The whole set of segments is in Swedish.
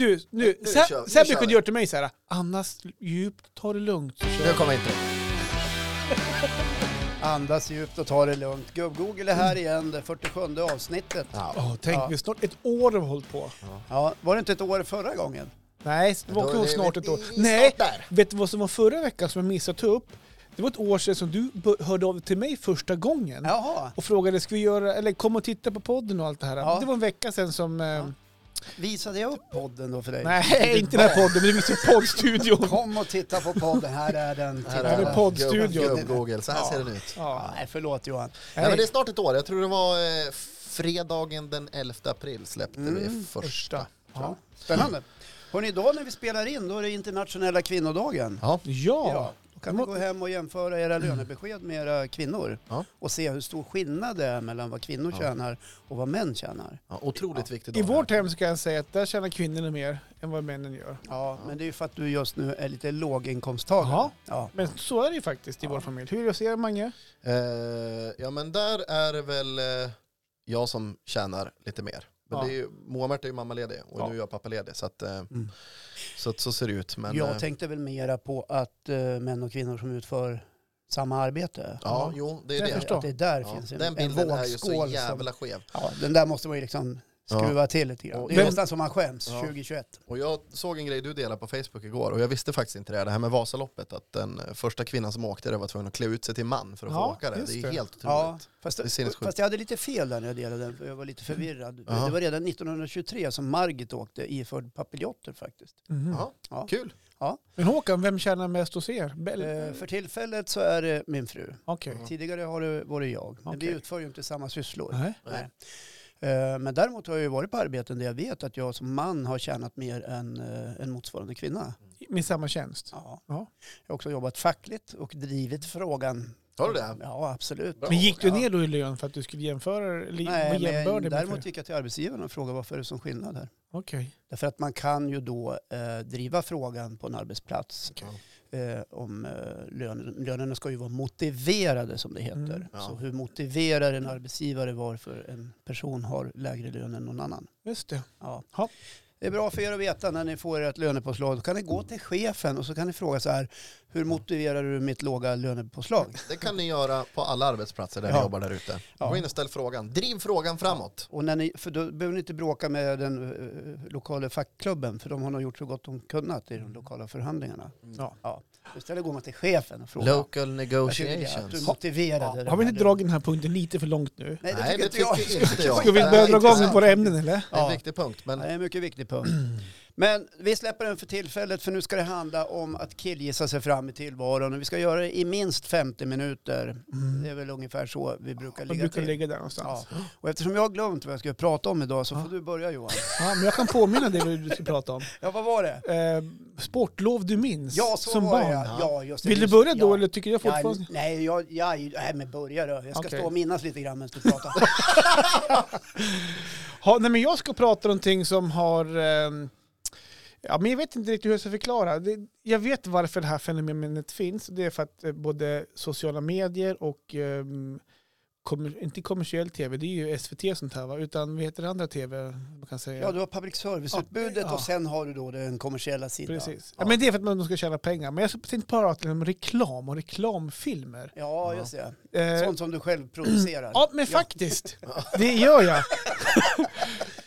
Du, nu, Nu Seb- kör vi, nu Sebbe kör kunde vi. gjort till mig så här. Andas djupt, ta det lugnt. Nu kommer inte. Andas djupt och ta det lugnt. Gubb-Google är här igen, det 47 avsnittet. Ja. Åh, tänk, Ja. vi har snart ett år har vi hållit på. var det inte ett år förra gången? Nej, det var Då också är vi- snart ett år. vi- vi är Nej, snart där. vet du vad som var förra veckan som jag missade att ta upp? Det var ett år sedan som du bör- hörde av dig till mig första gången. Jaha, Och frågade, ska vi göra, eller kom och titta på podden och allt det här. Ja. Det var en vecka sedan som... eh, visade jag upp podden då för dig? Nej, inte den här podden, men det visste poddstudion. Kom och titta på podden, här är den. Här är Titta. det poddstudio. Gubb- Gubb-Google, så här ser den ut. Ja. Nej, förlåt Johan. Nej, Nej. men det är snart ett år. Jag tror det var eh, fredagen den 11 april släppte vi första. Ja. Spännande. Hörrni, idag när vi spelar in, då är det internationella kvinnodagen. Ja. Ja. Ja, då kan ni gå hem och jämföra era lönebesked med era kvinnor Ja. och se hur stor skillnad det är mellan vad kvinnor tjänar och vad män tjänar. Ja, otroligt viktigt. I vårt hem så kan jag säga att där tjänar kvinnorna mer än vad männen gör. Ja, men det är ju för att du just nu är lite låginkomsttagare. Jaha. Ja. Men så är det ju faktiskt i vår familj. Hur ser Mange? Eh, ja, men där är det väl eh, jag som tjänar lite mer. Men Ja. det är ju, Moa-Märta är ju mammaledig och Ja. nu är jag pappaledig. Så, att, eh, Mm. så, att så ser det ut. Men, eh, Jag tänkte väl mera på att eh, män och kvinnor som utför samma arbete. ja, jo, det är Jag det. förstår. Att det där Ja, finns en, den en bilden är ju så vågskål. Som, jävla skev. ja, den där måste man ju liksom skruva till lite grann. Och Det är vem- nästan som man skäms, Ja. 2021. Och jag såg en grej du delade på Facebook igår och jag visste faktiskt inte det här, det här med Vasaloppet, att den eh, första kvinnan som åkte det var tvungen att klä ut sig till man för att Ja, få åka det. just Det är det. ju helt otroligt. Ja, Det är fast, sinnessjukt. fast jag hade lite fel där när jag delade den, för jag var lite förvirrad. Ja. Det var redan 1923 som Margit åkte iförd papiljotter faktiskt. Ja, Mm. Ja. kul. Men Håkan, vem tjänar mest hos er? Bell- Eh, för tillfället så är det min fru. Okej. Tidigare har det varit jag, men vi Okej. utför ju inte samma sysslor. Nej. Nej. Eh, Men däremot har jag ju varit på arbeten där jag vet att jag som man har tjänat mer än eh, en motsvarande kvinna. Med samma tjänst? Ja. Ja. Jag har också jobbat fackligt och drivit frågan. Har du det? Ja, absolut. Bra. Men gick du Ja. ner då i lön för att du skulle jämföra eller Nej, vara men jämbördig med däremot fler? gick jag till arbetsgivaren och frågade varför är det som skillnad här? Okej. Därför att man kan ju då eh, driva frågan på en arbetsplats Okej. eh, om eh, lönen. Lönerna ska ju vara motiverade som det heter. Mm. Ja. Så hur motiverar en arbetsgivare varför en person har lägre lön än någon annan? Just det. Ja. Ja. Det är bra för er att veta när ni får ert lönepåslag. Då kan ni gå till chefen och så kan ni fråga så här, hur motiverar du mitt låga lönepåslag? Det kan ni göra på alla arbetsplatser där ni Ja. jobbar där ute. Ja. Gå in och ställ frågan. Driv frågan framåt. Och när ni, för då behöver ni inte bråka med den eh, lokala fackklubben, för de har nog gjort så gott de kunnat i de lokala förhandlingarna. Mm. Ja. Ja. Istället går man till chefen och frågar. Local Jag skulle vilja att du negotiations. motiverade Har vi inte dragit den här punkten lite för långt nu? Nej, det Nej, tycker det inte jag. tycker inte jag. Ska vi Nej, börja dra intressant. igång våra ämnen eller? Det är en Ja. viktig punkt. Ja, Men Det är en mycket viktig punkt. Men vi släpper den för tillfället för nu ska det handla om att killgissa sig fram i tillvaron och vi ska göra det i minst 50 minuter. Det är väl ungefär så vi Mm. brukar Man ligga brukar till. ligga där någonstans. Ja. Och eftersom jag har glömt vad jag skulle prata om idag så Ah. får du börja Johan. Ja, men jag kan påminna dig vad du ska prata om. Ja, vad var det? Eh, sportlov du minns Ja, så som var barn. jag. Ja, just det. Vill du Just- börja då ja. eller tycker jag Ja, fortfarande... nej, jag, jag, nej, men börja då. Jag ska Okej. stå och minnas lite grann medan du pratar. Ja, nej, men jag ska prata om någonting som har... ehm, ja, men jag vet inte riktigt hur jag ska förklara. Det, jag vet varför det här fenomenet finns. Det är för att eh, både sociala medier och... ehm, kommer, inte kommersiell tv, det är ju SVT och sånt här va? Utan vad heter det andra tv? Man kan säga. Ja, du har public service-utbudet Ah, Ja. och sen har du då den kommersiella sidan. Precis. Ja. Ja, men det är för att man ska tjäna pengar. Men jag ska- tänkte prata om reklam och reklamfilmer. ja just det. Eh, Sånt som du själv producerar. Ja, men faktiskt. Det gör jag.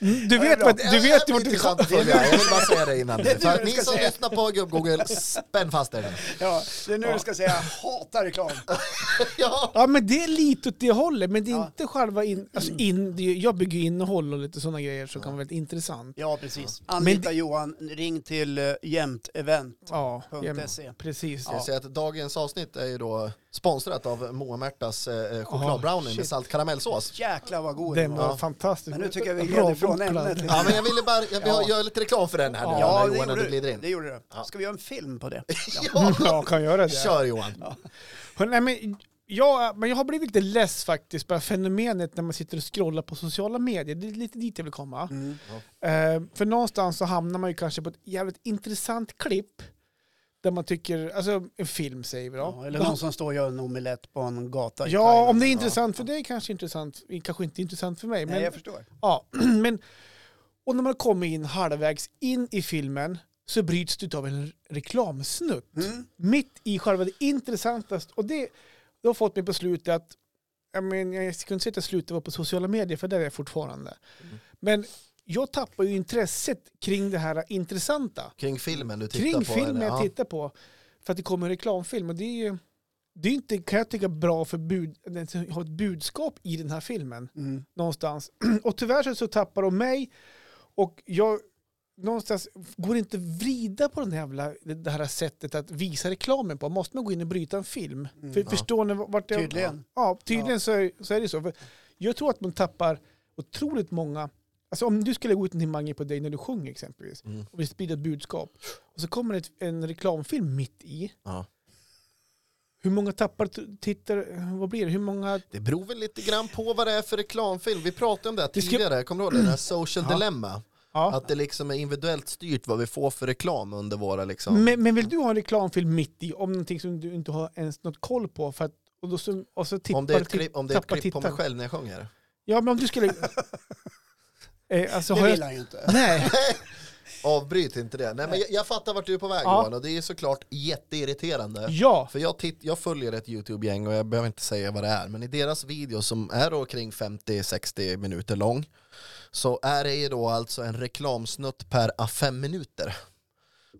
Mm, Du vet, bra. vad, du vet ju vart du intressant att följa. Jag vill bara säga det innan. Det är För det du ni ska som säga. lyssnar på Gubb-Google, spänn fast er nu. Ja, det är nu du ska säga hata reklam. Ja. Ja, men det är lite åt det hållet. Men det är Ja. inte själva... In, alltså in, det är- jag bygger ju innehåll och lite sådana grejer som kan vara väldigt intressant. Ja, precis. Anlita Men det- Johan, ring till eh, jämtevent.se. Ja, ja, precis. Jag säger att dagens avsnitt är ju då sponsrat av Moa-Märtas eh, chokladbrownie med shit. saltkaramellsås. Jäklar vad god Den den var var. fantastisk. Men nu tycker jag vi Bra gled ifrån bokblad. ämnet. Ja, men jag ville bara jag vill Ja. göra lite reklam för den här nu Ja, när det Johan ändå gjorde, glider du. det in. gjorde du. Ska vi göra en film på det? Ja. Ja, kan göra det. Kör Johan. Hör, nej, men, jag, men jag har blivit lite less faktiskt på det här fenomenet när man sitter och scrollar på sociala medier. Det är lite dit jag vill komma. Mm. Eh, för någonstans så hamnar man ju kanske på ett jävligt intressant klipp där man tycker, alltså en film säger vi då. Ja, eller någon som står och gör en omelett på en gata i Ja, Thailand. om det är intressant för dig kanske intressant, kanske inte intressant för mig. Men, Nej, jag förstår. ja, men, och Och när man kommer in halvvägs in i filmen så bryts du av en reklamsnutt. Mm. Mitt i själva det intressantaste. Och det, det har fått mig på slutet att jag, men, jag kunde inte säga att jag slutade vara på sociala medier för där är jag fortfarande. Men jag tappar ju intresset kring det här intressanta. Kring filmen du tittar Kring på? filmen eller? jag Ja. tittar på. För att det kommer en reklamfilm. Och det är ju det är inte, kan jag tycka, bra för bud, att ha ett budskap i den här filmen Mm. någonstans. Och tyvärr så- så tappar de mig och jag någonstans går inte vrida på den här jävla, det här sättet att visa reklamen på. Måste man gå in och bryta en film? Mm. För, Ja. Förstår ni vart jag... Tydligen. Ja, tydligen Så, är, så är det så. För jag tror att man tappar otroligt många... Alltså om du skulle gå ut en himangi på dig när du sjunger exempelvis Mm. och vill sprida ett budskap och så kommer det ett, en reklamfilm mitt i. Ja. Hur många tappar tittar... Vad blir det? Hur många... Det beror väl lite grann på vad det är för reklamfilm. Vi pratade om det här Det ska- tidigare, kommer du ihåg det? Den här social Ja. dilemma. Ja. Att det liksom är individuellt styrt vad vi får för reklam under våra liksom. Men, men vill du ha en reklamfilm mitt i om någonting som du inte har ens något koll på? För att, och, då så, och så tippar, om det är ett tipp- klipp, om det är ett tappar klipp på mig tittaren. själv när jag sjunger. Ja, men om du skulle... eh, alltså, Det har vill jag, han ju inte. nej, Avbryt inte det. Nej men jag, jag fattar vart du är på väg Ja. Johan och det är ju såklart jätteirriterande. ja. För jag, titt, jag följer ett YouTube-gäng och jag behöver inte säga vad det är, men i deras video som är då kring 50-60 minuter lång så är det ju då alltså en reklamsnutt per a fem minuter.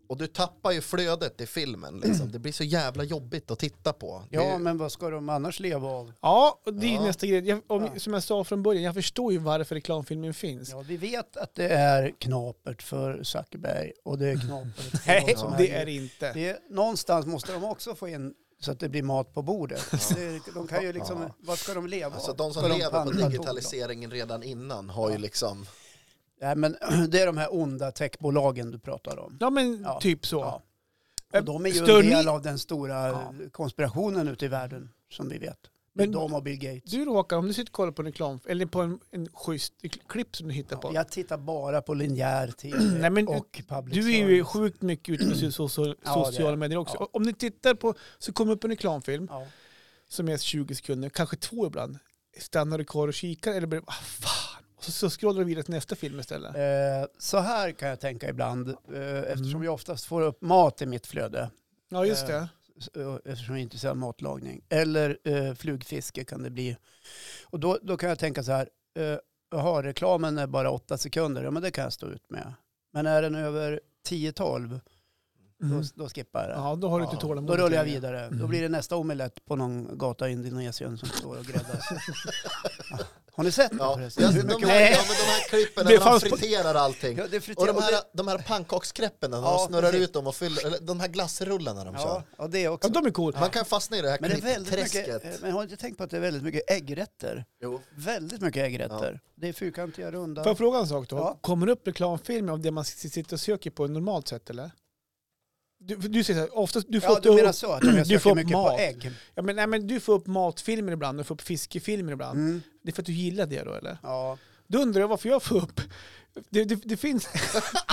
Och du tappar ju flödet i filmen liksom. Det blir så jävla jobbigt att titta på. Det är Ja, ju- men vad ska de annars leva av? Ja, och det är Ja. nästa grej. Jag, om, Ja. Som jag sa från början, jag förstår ju varför reklamfilmen finns. Ja, vi vet att det är knapert för Zuckerberg och det är knapert för Nej, de som det äger. är det inte. det är Någonstans måste de också få in så att det blir mat på bordet. Det, de kan ju liksom, Ja. vad ska de leva Alltså av? de som Ska lever på panta bolag? digitaliseringen redan innan har ju liksom... Nej, men det är de här onda techbolagen du pratar om. Ja, men Ja. typ så. Eh, Ja. Och de är ju Stör en del ni- av den stora Ja. konspirationen ute i världen, som vi vet. Men- de och Bill Gates. Du råkar, om du sitter och kollar på en reklam, eller på en, en schysst klipp som du hittar på. Jag tittar bara på linjär tv Nej, men och public Du är ju service. sjukt mycket ute på so- so- Ja, det är sociala jag. medier också. Ja. Om ni tittar på, så kommer upp en reklamfilm Ja. som är 20 sekunder, kanske två ibland. Stannar du kvar och kikar eller blir ah, fan. Och så, så scrollar du vidare till nästa film istället. Eh, Så här kan jag tänka ibland, eh, eftersom Mm. jag oftast får upp mat i mitt flöde, Ja, just eh, det. s- eh, eftersom jag är intresserad av matlagning. Eller eh, flugfiske kan det bli. Och då, då kan jag tänka så här, eh, jaha, reklamen är bara åtta sekunder, ja men det kan jag stå ut med. Men är den över 10-12, Mm. då, då skippar jag det. Ja, då har du Ja, inte tålamod. Då rullar jag längre. vidare. Då Mm. blir det nästa omelett på någon gata i Indonesien som står och gräddas. Har ni sett den Ja, förresten? jag, Hur de, här, mycket ja, omelett? men de här klippen Det när man fanns på- friterar allting. Ja, det är Och friterat. de här, de här pannkakskräpporna, när Ja, de snurrar precis. ut dem och fyller, eller de här glassrullarna de Ja, kör. ja, det Ja, också. de är coola. Man kan fastna i det här Men det är väldigt klippträsket. mycket, eh, men har inte tänkt på att det är väldigt mycket äggrätter? Jo. Väldigt mycket äggrätter. Det är fyrkantiga, runda. Får jag fråga en sak då? Ja. Kommer det upp reklamfilmer av det man s- sitter och söker på normalt sätt eller? Du, för du säger så här, oftast, du får, ja, upp- du menar så? Att om du jag söker får mycket mat. på ägg? ja, men, nej, men du får upp matfilmer ibland, du får upp fiskefilmer ibland. Mm. Det är för att du gillar det då eller? Ja. Då undrar jag varför jag får upp... Det, det, det finns...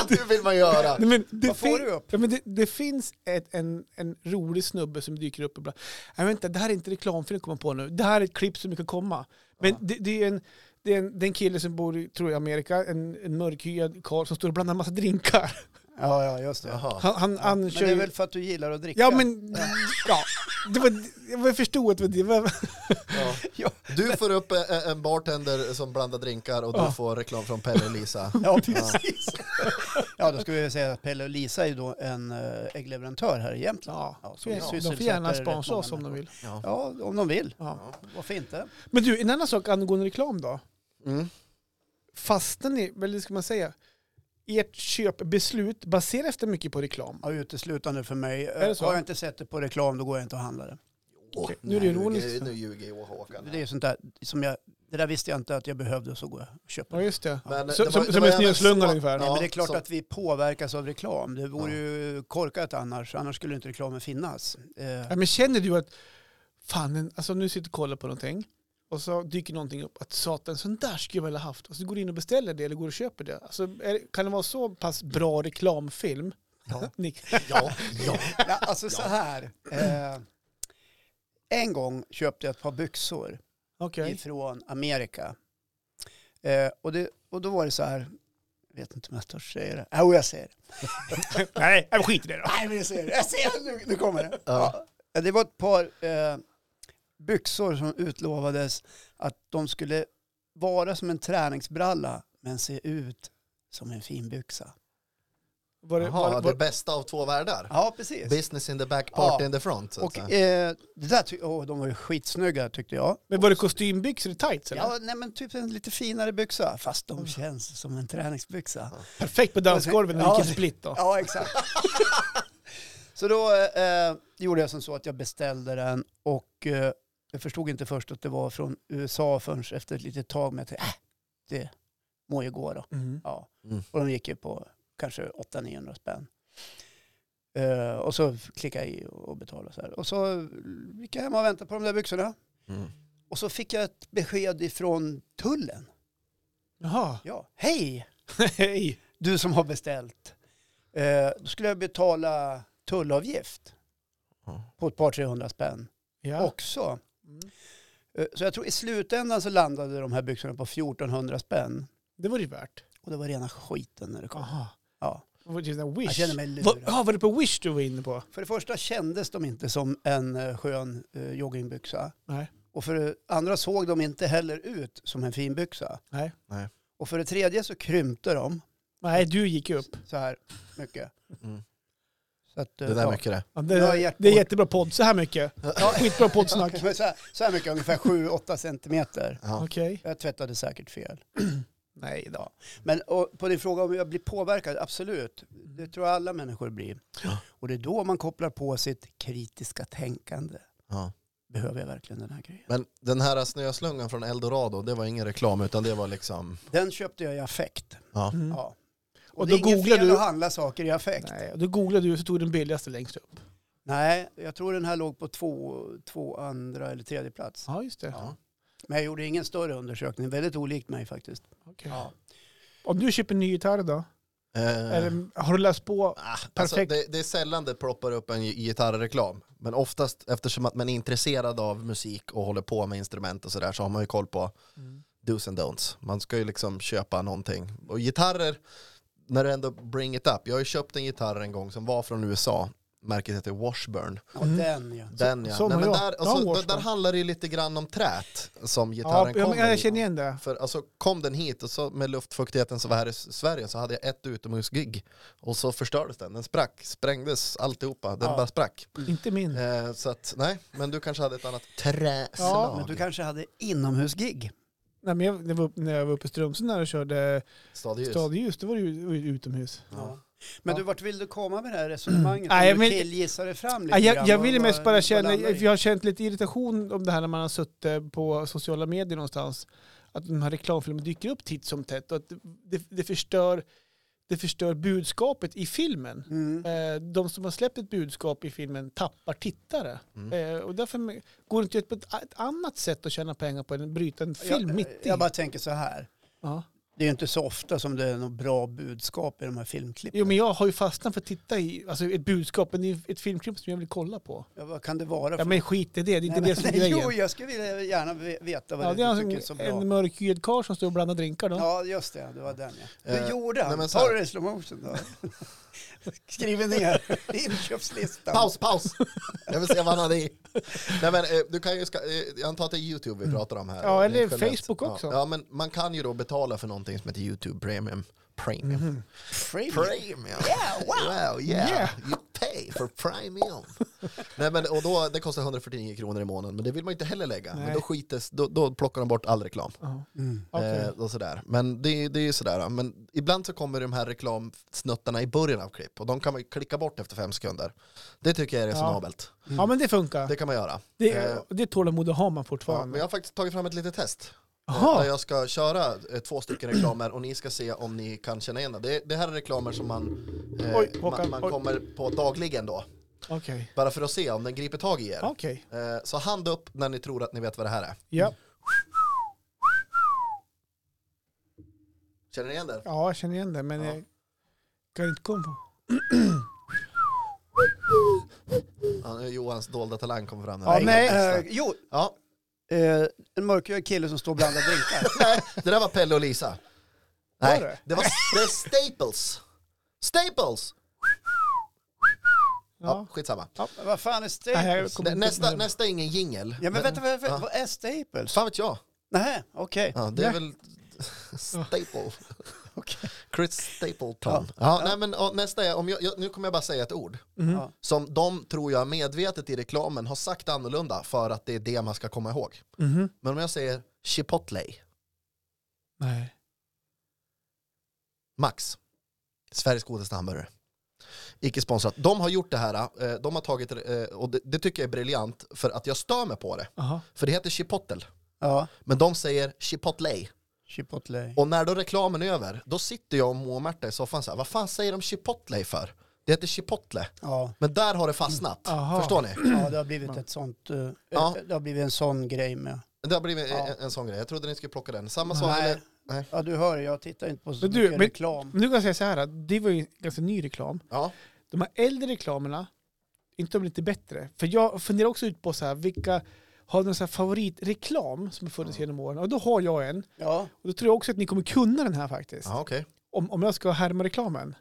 Det vill man göra. Nej, men det Vad får fin- du upp? Ja, men det, det finns ett, en, en rolig snubbe som dyker upp ibland. Nej vänta, det här är inte reklamfilm jag kommer på nu. Det här är ett klipp som kan komma. Men det, det är en... Det är, en, det är en kille som bor i, tror jag, Amerika, en, en mörkhyad karl som står och blandar en massa drinkar. ja, ja, just det. Jaha. Han, han, han Men kör det är ju- väl för att du gillar att dricka? Ja men, ja. Det var, jag förstod att det var det. var- Ja. Ja. Du får upp eh, en bartender som blandar drinkar och Ja. du får reklam från Pelle och Lisa. Ja, precis. Ja, då ska vi säga att Pelle och Lisa är då en eh, äggleverantör här i Jämtland. Ja, så så är de det. De får sysselsätter gärna rätt sponsra många oss om de människor. vill. Ja. Ja, om de vill. Ja. Varför inte? Men du, en annan sak angående reklam då. Mm. fastnar ni, eller ska man säga, ert köpbeslut baseras efter mycket på reklam? Ja, uteslutande för mig. det så? Har jag inte sett det på reklam, då går jag inte och handlar det. Okej, nu är det ironiskt. Nu ljuger ju Håkan. Det är sånt där som jag, det där visste jag inte att jag behövde så går jag och köper Ja, det. just det. Men, eh, Så, det som var- det som var en även snöslunga så- ungefär. Nej, Ja, men det är klart som- att vi påverkas av reklam. Det vore Ja. ju korkat annars, annars skulle inte reklamen finnas. Eh, Ja, men känner du att, fan, en- alltså nu sitter du och kollar på någonting och så dyker någonting upp, att satan, sån där skulle jag vilja haft. Och så går du in och beställer det eller går och köper det. Alltså, är, det- kan det vara så pass bra reklamfilm? Ja. Nick. Ja, ja. ja, alltså så här. Eh, en gång köpte jag ett par byxor. Okej. ifrån Amerika. Eh, och, det, och då var det så här, vet inte om jag törs säga det. Jo, jag säger det. Nej, men skit i det då. Nej, men jag säger det. Jag säger det. Nu, nu kommer det. Ja. Ja, Det var ett par eh, byxor som utlovades att de skulle vara som en träningsbralla men se ut som en fin byxa. Var det, Jaha, var, det var, bästa av två världar. Ja, precis. Business in the back, party Ja. in the front. Så att Och säga. eh, det där ty- åh, de var ju skitsnygga tyckte jag. men var det kostymbyxor i tights eller? Ja, nej men typ en lite finare byxa, fast de känns som en träningsbyxa. Perfekt på dansgolvet när du Ja. gick i split då. Ja, exakt. så då eh, gjorde jag som så att jag beställde den och eh, jag förstod inte först att det var från USA förrän efter ett litet tag, men jag tänkte, äh, det må ju gå då. Mm. Ja. Mm. Och de gick ju på kanske 800-900 spänn. Eh, och så klickade jag i och betalade så här. Och så gick jag hem och väntade på de där byxorna. Mm. Och så fick jag ett besked ifrån tullen. Jaha, Ja, hej! hej. du som har beställt, eh, då skulle jag betala tullavgift Ja. på ett par 300 spänn Ja. också. Mm. Eh, så jag tror i slutändan så landade de här byxorna på 1400 spänn. Det var det ju värt. Och det var rena skiten när det kom. Jaha. Ja. Det var ju en Jag Wish. känner mig Va- lurad. Ja, var det på Wish du var inne på? För det första kändes de inte som en eh, skön eh, joggingbyxa. Nej. Och för det andra såg de inte heller ut som en fin byxa. Nej. Nej. Och för det tredje så krympte de Nej, du gick ju upp. så här mycket. Mm. Så att, eh, Det där ja. mycket det. Ja, Nu har det, jag hjärtbråck. det är jättebra podd, så här mycket. Skitbra poddsnack. Ja, men så, här, så här mycket, ungefär 7-8 centimeter. Ja. Okej. Jag tvättade säkert fel. Nej då. Men och, på din fråga om jag blir påverkad, absolut. Det tror jag alla människor blir. Ja. Och det är då man kopplar på sitt kritiska tänkande. Ja. Behöver jag verkligen den här grejen? Men den här snöslungan från Eldorado, det var ingen reklam utan det var liksom... Den köpte jag i affekt. Ja. Mm. Ja. Och, Och det är då inget googlar fel du- att handla saker i affekt. Nej. Nej, och då googlade du och så tog den billigaste längst upp. jag tror den här låg på två, två andra eller tredje plats. Ja, just det. Ja. Men jag gjorde ingen större undersökning, väldigt olikt mig faktiskt. Okej. Om du köper en ny gitarr då? Eh, Eller, har du läst på? ah, alltså, perfekt. det, det är sällan det ploppar upp en gi- gitarrreklam. Men oftast eftersom att man är intresserad av musik och håller på med instrument och sådär så har man ju koll på Mm. do's and don'ts. Man ska ju liksom köpa någonting. Och gitarrer, när du ändå bring it up. Jag har ju köpt en gitarr en gång som var från USA. Märket heter Washburn. Ja, Mm. den ja. Den ja. som Nej, men jag. där, Jag har alltså, Washburn. där, där handlar det ju lite grann om trät som Ja, gitarren jag, kommer jag i. känner igen det. För alltså kom den hit och så med luftfuktigheten som var här i S- Sverige så hade jag ett utomhusgig och så förstördes den. Den sprack, sprängdes alltihopa, den Ja. bara sprack. Inte min. Eh, så att nej, men du kanske hade ett annat träslag. Men du kanske hade inomhusgig? Nej, men jag, det var, när jag var uppe i Strömsund och körde Stadljus. stadljus, då var det ju ut- utomhus. Ja. Men Ja. du, vart vill du komma med det här resonemanget? Nej, Nej, men- men... Killgissa dig fram lite Nej, grann, jag, jag vad- vill mest vad- bara vad känna, landar i? för jag har känt lite irritation om det här när man har suttit eh, på sociala medier någonstans. Att de här reklamfilmerna dyker upp titt som tätt och att det, det, förstör, det förstör budskapet i filmen. Mm. Eh, De som har släppt ett budskap i filmen tappar tittare. Mm. Eh, Och därför går det inte ut på ett, ett annat sätt att tjäna pengar på än att bryta en film jag, mitt i. eh, Jag bara tänker så här. ja. Det är ju inte så ofta som det är något bra budskap i de här filmklippen. Jo men jag har ju fastnat för att titta i alltså, ett budskap, men det är ett filmklipp som jag vill kolla på. Ja, vad kan det vara? Ja för- men skit i det, det är inte Nej, det som är men- grejen. Jo, jag skulle vilja gärna ve- veta vad Ja, det det är är du tycker är så alltså bra. en mörkhyad karl som står och blandar drinkar då. Ja, just det. Det var den ja. Hur Eh, gjorde han? nej, men så här- Tar du det i slow motion då? Skriver ner inköpslistan. Paus, paus! Jag vill se vad han hade i. Nej men eh, du kan ju, ska, eh, jag antar att det är YouTube vi pratar om här. Mm. Ja, eh, eller generellt. Facebook också. Ja. ja men man kan ju då betala för någonting som heter YouTube Premium. Premium. Premium. Premium. Yeah, wow. yeah. Mhm. Yeah. You pay for premium. Nej, men, och då, det kostar 149 kronor i månaden, men det vill man ju inte heller lägga. Men Nej. då, skites, då, då plockar de bort all reklam. Ja. Mm. Okej. Eh, och sådär. Men det, är- det är ju sådär. Men ibland så kommer de här reklamsnuttarna i början av klipp och de kan man ju klicka bort efter fem sekunder. Det tycker jag är resonabelt. ja men det funkar. Det Det, kan man göra. eh, det, tålamodet har man Ja, men fortfarande. jag har faktiskt tagit fram ett litet test. Eh, Jaha. Där jag ska köra eh, två stycken reklamer och ni ska se om ni kan känna igen det. Det, det här är reklamer som man, eh, Oj, Håkan, man, man oj. kommer på dagligen då. Okej. Bara för att se om den griper tag i er. Okej. Eh, så hand upp när ni tror att ni vet vad det här är. Ja. Känner ni igen den? ja, jag känner igen det men Ja. jag kan inte komma på. Ja, nu är Johans dolda talang kommer fram. Ja, här. nej. Eh, jo, Ja, eh, en mörkhyad kille som står och blandar drinkar. nej, det där var Pelle och Lisa. Var Nej, det? det var det är Staples. Staples! Ja, Ja. skitsamma. Men Vad fan är Nej, Staples? jag kommer inte Nästa, ihåg. nästa är ingen jingel. Ja men vänta, vad, Ja. vad är Staples? Fan vet jag. Nej, okej. Ja, det är Ja. väl Staple. Okej. Chris Stapleton. Ja. Nej, men, ja, nästa är, om jag, jag, nu kommer jag bara säga ett ord. Mhm. Ja. Som de, tror jag, medvetet i reklamen har sagt annorlunda för att det är det man ska komma ihåg. Mhm. Men om jag säger Chipotle, Nej. Max, Sveriges godaste hamburgare. Icke sponsrat. De har gjort det här, eh, de har tagit, eh, och det, det tycker jag är briljant, för att jag stör mig på det. Aha. För det heter Chipotle, Ja, men de säger Chipotle. Chipotle. Och när då reklamen är över, då sitter jag och Moa och Märta i soffan så här, vad fan säger de Chipotle för? Det heter Chipotle. Ja. Men där har det fastnat. Mm, Aha. Förstår ni? ja, det har blivit ett sånt, eh, Ja. det har blivit en sån grej med. Det har blivit Ja. en, en sån grej. Jag trodde ni skulle plocka den. Samma sak. Nej. eller- nej. Ja du hör, jag tittar inte på så Men du, mycket men- reklam. Men nu kan jag säga så här, att det var ju ganska ny reklam. Ja. De här äldre reklamerna, inte om det inte är bättre. För jag funderar också ut på så här, vilka har någon så här favoritreklam som har funnits genom åren? Och då har jag en. Ja, Och då tror jag också att ni kommer kunna den här faktiskt. Ja, okej. Om, om jag ska härma reklamen.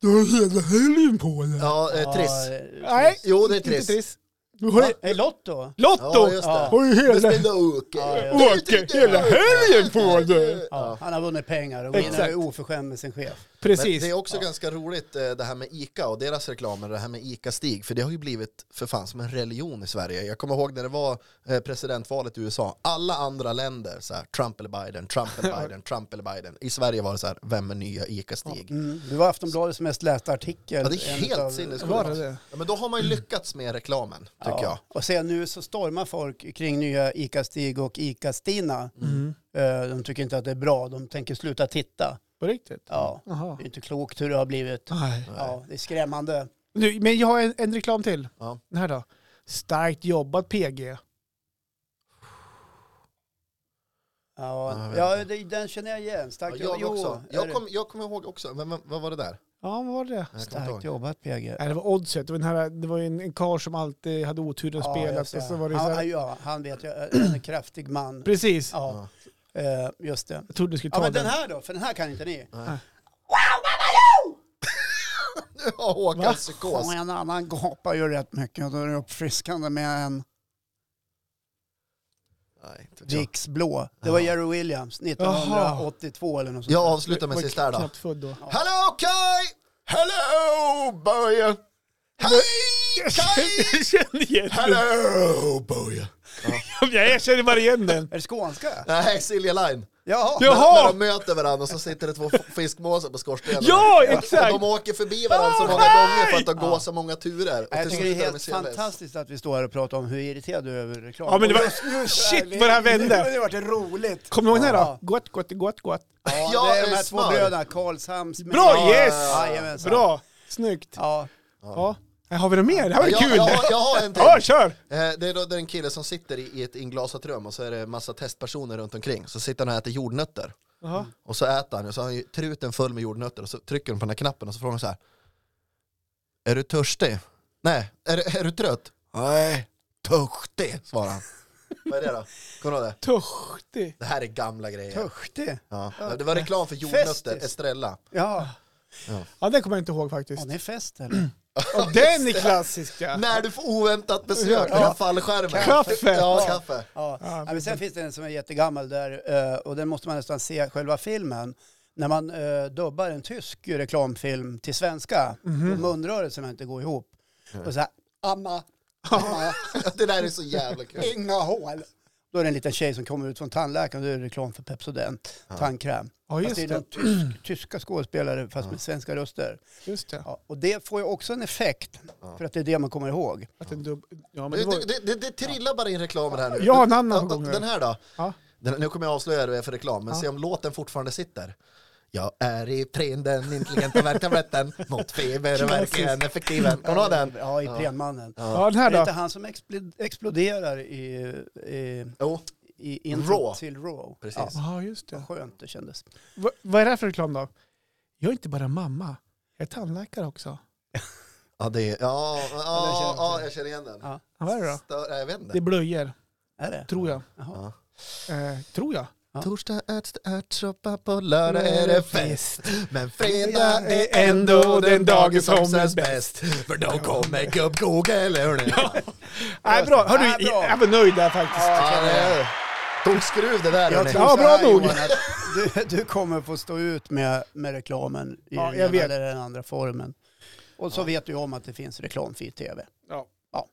Du har hela helgen på dig. Ja, eh, Ja, Triss. eh, Nej, Jo, det är inte Triss. Triss. Du har ju- Är det Lotto? Lotto! Ja, just Ja. det. Har ju Du hela... spelade Åke. Ja, ja. Åke, hela helgen på dig! Ja. Han har vunnit pengar och Exakt. Winner är oförskämd med sin chef. Men Precis. det är också ganska roligt eh, det här med ICA och deras reklamer, det här med ICA-Stig, för det har ju blivit för fan som en religion i Sverige. Jag kommer ihåg när det var eh, presidentvalet i USA, alla andra länder, så här, Trump eller Biden, Trump eller Biden, Trump eller Biden. I Sverige var det så här, vem är nya ICA-Stig? Mm. Du var Aftonbladets mest lästa artikel. Ja, det är En helt utav- sinnessjukt. Var det det? Ja, men då har man ju lyckats med reklamen, tycker jag. Och sen nu så stormar folk kring nya ICA-Stig och ICA-Stina. Mm. Mm. Eh, De tycker inte att det är bra, de tänker sluta titta. På riktigt? Ja, Jaha. det är inte klokt hur det har blivit. Nej. Ja, det är skrämmande. Nu, men jag har en, en reklam till. Ja. Den här då. Starkt jobbat PG. Ja, Ja, jag ja det, den känner jag igen. Starkt Ja, jag jobbat. också. Jo, är Jag, det- kom, jag kommer ihåg också, vem, vem, vad var det där? Ja, vad var det? Jag kommer inte ihåg. Starkt jobbat PG. Nej, det var oddset. Det var, den här, det var ju en, en karl som alltid hade oturen att spela. jag Och ser. så var det så han, här, Mm. ja, han vet jag, en kraftig man. precis. Ja, eh, just det. Jag trodde du skulle ta Ja, men den. den här då, för den här kan inte ni. Nu har Håkan psykos. Och en annan gapar ju rätt mycket och då är det uppfriskande med en Nej, inte vet jag. Vicks blå. Det var Jerry Williams 1982 eller något sånt. Jag där. avslutar med Var sista här då. knappt född då. Hello Kai! Hello Börje! Hej Kai! Jag känner igen den. Hello Börje! Jag känner bara igen den. Är det skånska? Nej, Silja Line. Jaha! Ja. Jaha! När, när de möter varandra och så sitter det två f- fiskmåsar på skorstenen. Ja, Och exakt! de åker förbi varandra så många Hej! gånger för att de går så många turer. Och Jag till tycker slut det är är de i helt CLS. fantastiskt att vi står här och pratar om hur irriterad du är över reklam. Ja, men det Och var- just nu så shit, är vi- vad det här Nu vände. har Det varit roligt. Kommer du ihåg den här då? Ja. Gott, gott, gott, gott. Ja, Ja, det är de eh, här smör. två bröderna, Karlshamns. med- Bra, yes! Jajamensan. Bra, snyggt. Ja, Ja. Här Har vi något mer? Det här var Jag, kul. jag, har- jag har en till. Ja, kör! Eh, Det är då den killen som sitter i i ett inglasat rum och så är det massa testpersoner runt omkring. Så sitter han och äter jordnötter. Jaha. Och så äter han och så har han ju truten full med jordnötter och så trycker de på den här knappen och så frågar de så här. Är du törstig? Nej. Är, du- är du trött? Nej. Törstig, svarar han. Vad är det då? Kommer du ihåg det? Törstig. Det här är gamla grejer. törstig. Ja. Det var reklam för jordnötter, Festis. Estrella. Ja, Ja, den kommer jag inte ihåg faktiskt. ja det är fest eller? Och den är klassisk ja. När du får oväntat besök, Ja. den här fallskärmen. Kaffe. Ja, kaffe. Ja. Ja, Ja, men sen finns det en som är jättegammal där eh, och den måste man nästan se själva filmen. När man eh, dubbar en tysk reklamfilm till svenska, Mhm. mm munrörelserna inte går ihop. Och så här, amma, amma, Det där är så jävla kul. inga hål. Då är det en liten tjej som kommer ut från tandläkaren och då är det reklam för Pepsodent, tandkräm. Ja, Fast just det är det. de tysk, tyska skådespelare fast med svenska röster. Just det. Ja, och det får ju också en effekt, för att det är det man kommer ihåg. Att en dubb... Ja, men Det, det var... det, det, det trillar bara in reklamer här nu. Jag har en annan Och- och gång. Den här då? Ja. Den, nu kommer jag avslöja det för reklam, men se om låten fortfarande sitter. Jag är i trenden, intelligenta verktabletten, mot feber och verkligen effektiven. Kommer du ihåg den? Ja, i Prenmannen. Ja, den här Är det inte då. han som expl- exploderar i, i, Jo, i in Raw. till Raw? Precis. Ja, Ja, just det. vad skönt det kändes. Va, vad är det här för reklam då? Jag är inte bara mamma, jag är tandläkare också. ja, det är, ja, ja, ja, jag känner igen den. Ja. Ja, vad är det då? Stör, nej, jag vet inte. Det är blöjor, Är det? tror jag. Jaha. Eh, tror jag. Ja. Torsdag äts det ärtsoppa, på lördag är det fest. Men fredag är är ändå den dagen som känns känns bäst. För då kommer gubb Google, hörni. Nej, bra. Hördu, Ja, bra. jag var nöjd där faktiskt. Ja, det är- Tog skruv det där, Jag hörni. tror Ja, så här, bra nog. Johan, att Du, du kommer få stå ut med, med reklamen i Ja, den jag ena vet. eller den andra formen. Och så vet du om att det finns reklamfri tv. Ja. Ja,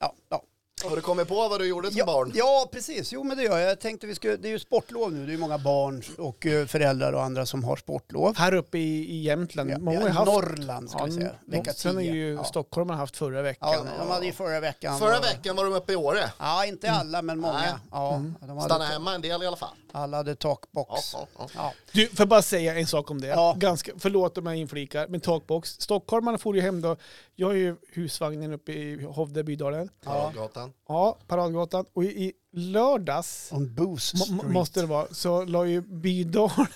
ja, ja. Har du kommit på vad du gjorde som Ja, barn? ja, precis. Jo, men det gör jag. jag tänkte vi skulle, det är ju sportlov nu. Det är ju många barn och eh, föräldrar och andra som har sportlov. Här uppe i, i Jämtland. Ja, Många har ja, ju haft, Norrland ska vi säga. Vecka Sen är 10. ju Ja. Stockholm har haft förra Ja, veckan. de hade ju förra veckan. Mm. Förra och- veckan var de uppe i Åre. Ja, inte alla, men Nej. många. Ja, de Stanna hade, hemma en del i alla fall. alla hade Ja, takbox. ja, ja. Mm. Ja. Du, får jag bara säga en sak om det? Ja. Ganska, förlåt om jag inflikar, men talkbox. Stockholmarna får ju hem då. Jag har ju husvagnen uppe i Hovde, Bydalen. Ja. Gatan. Ja, Paradgatan. Och i, i lördags, On Boost må- må- Street. måste det vara, så la ju Bydalen,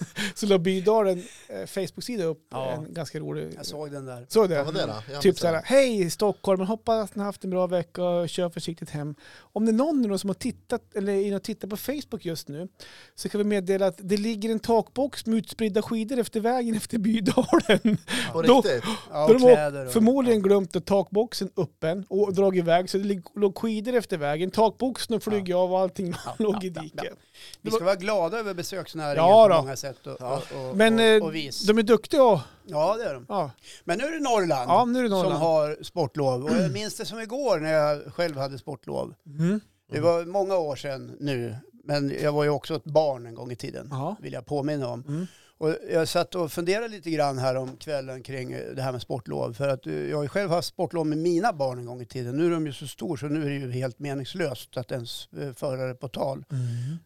så la Bydalen eh, Facebook-sida upp Ja. en ganska rolig... Jag såg den där. Såg du Vad var det mm. då? Jag Typ missade. så här, hej Stockholm, hoppas ni har haft en bra vecka och kör försiktigt hem. Om det är någon nu då som har tittat eller är inne och tittar på Facebook just nu så kan vi meddela att det ligger en takbox med utspridda skidor efter vägen efter Bydalen. På Då- riktigt? Ja, Då och de har kläder och... Förmodligen glömt att takboxen öppen och dragit iväg så det lig- låg skidor efter vägen. Takboxen och flög av och allting låg i ja, ja. diket. Vi ska vara glada över besöksnäringen Ja, på då. många sätt och, och, och, Men och, eh, och vis. de är duktiga och, Ja, det är de. ja. Men nu är det Norrland, ja, nu är det Norrland. som har sportlov. Och jag minns det som igår när jag själv hade sportlov. Mm. Det var många år sedan nu, men jag var ju också ett barn en gång i tiden, Ja. vill jag påminna om. Mm. Och jag satt och funderade lite grann här om kvällen kring eh, det här med sportlov. För att eh, jag har ju själv haft sportlov med mina barn en gång i tiden. Nu är de ju så stor så nu är det ju helt meningslöst att ens eh, föra det på tal.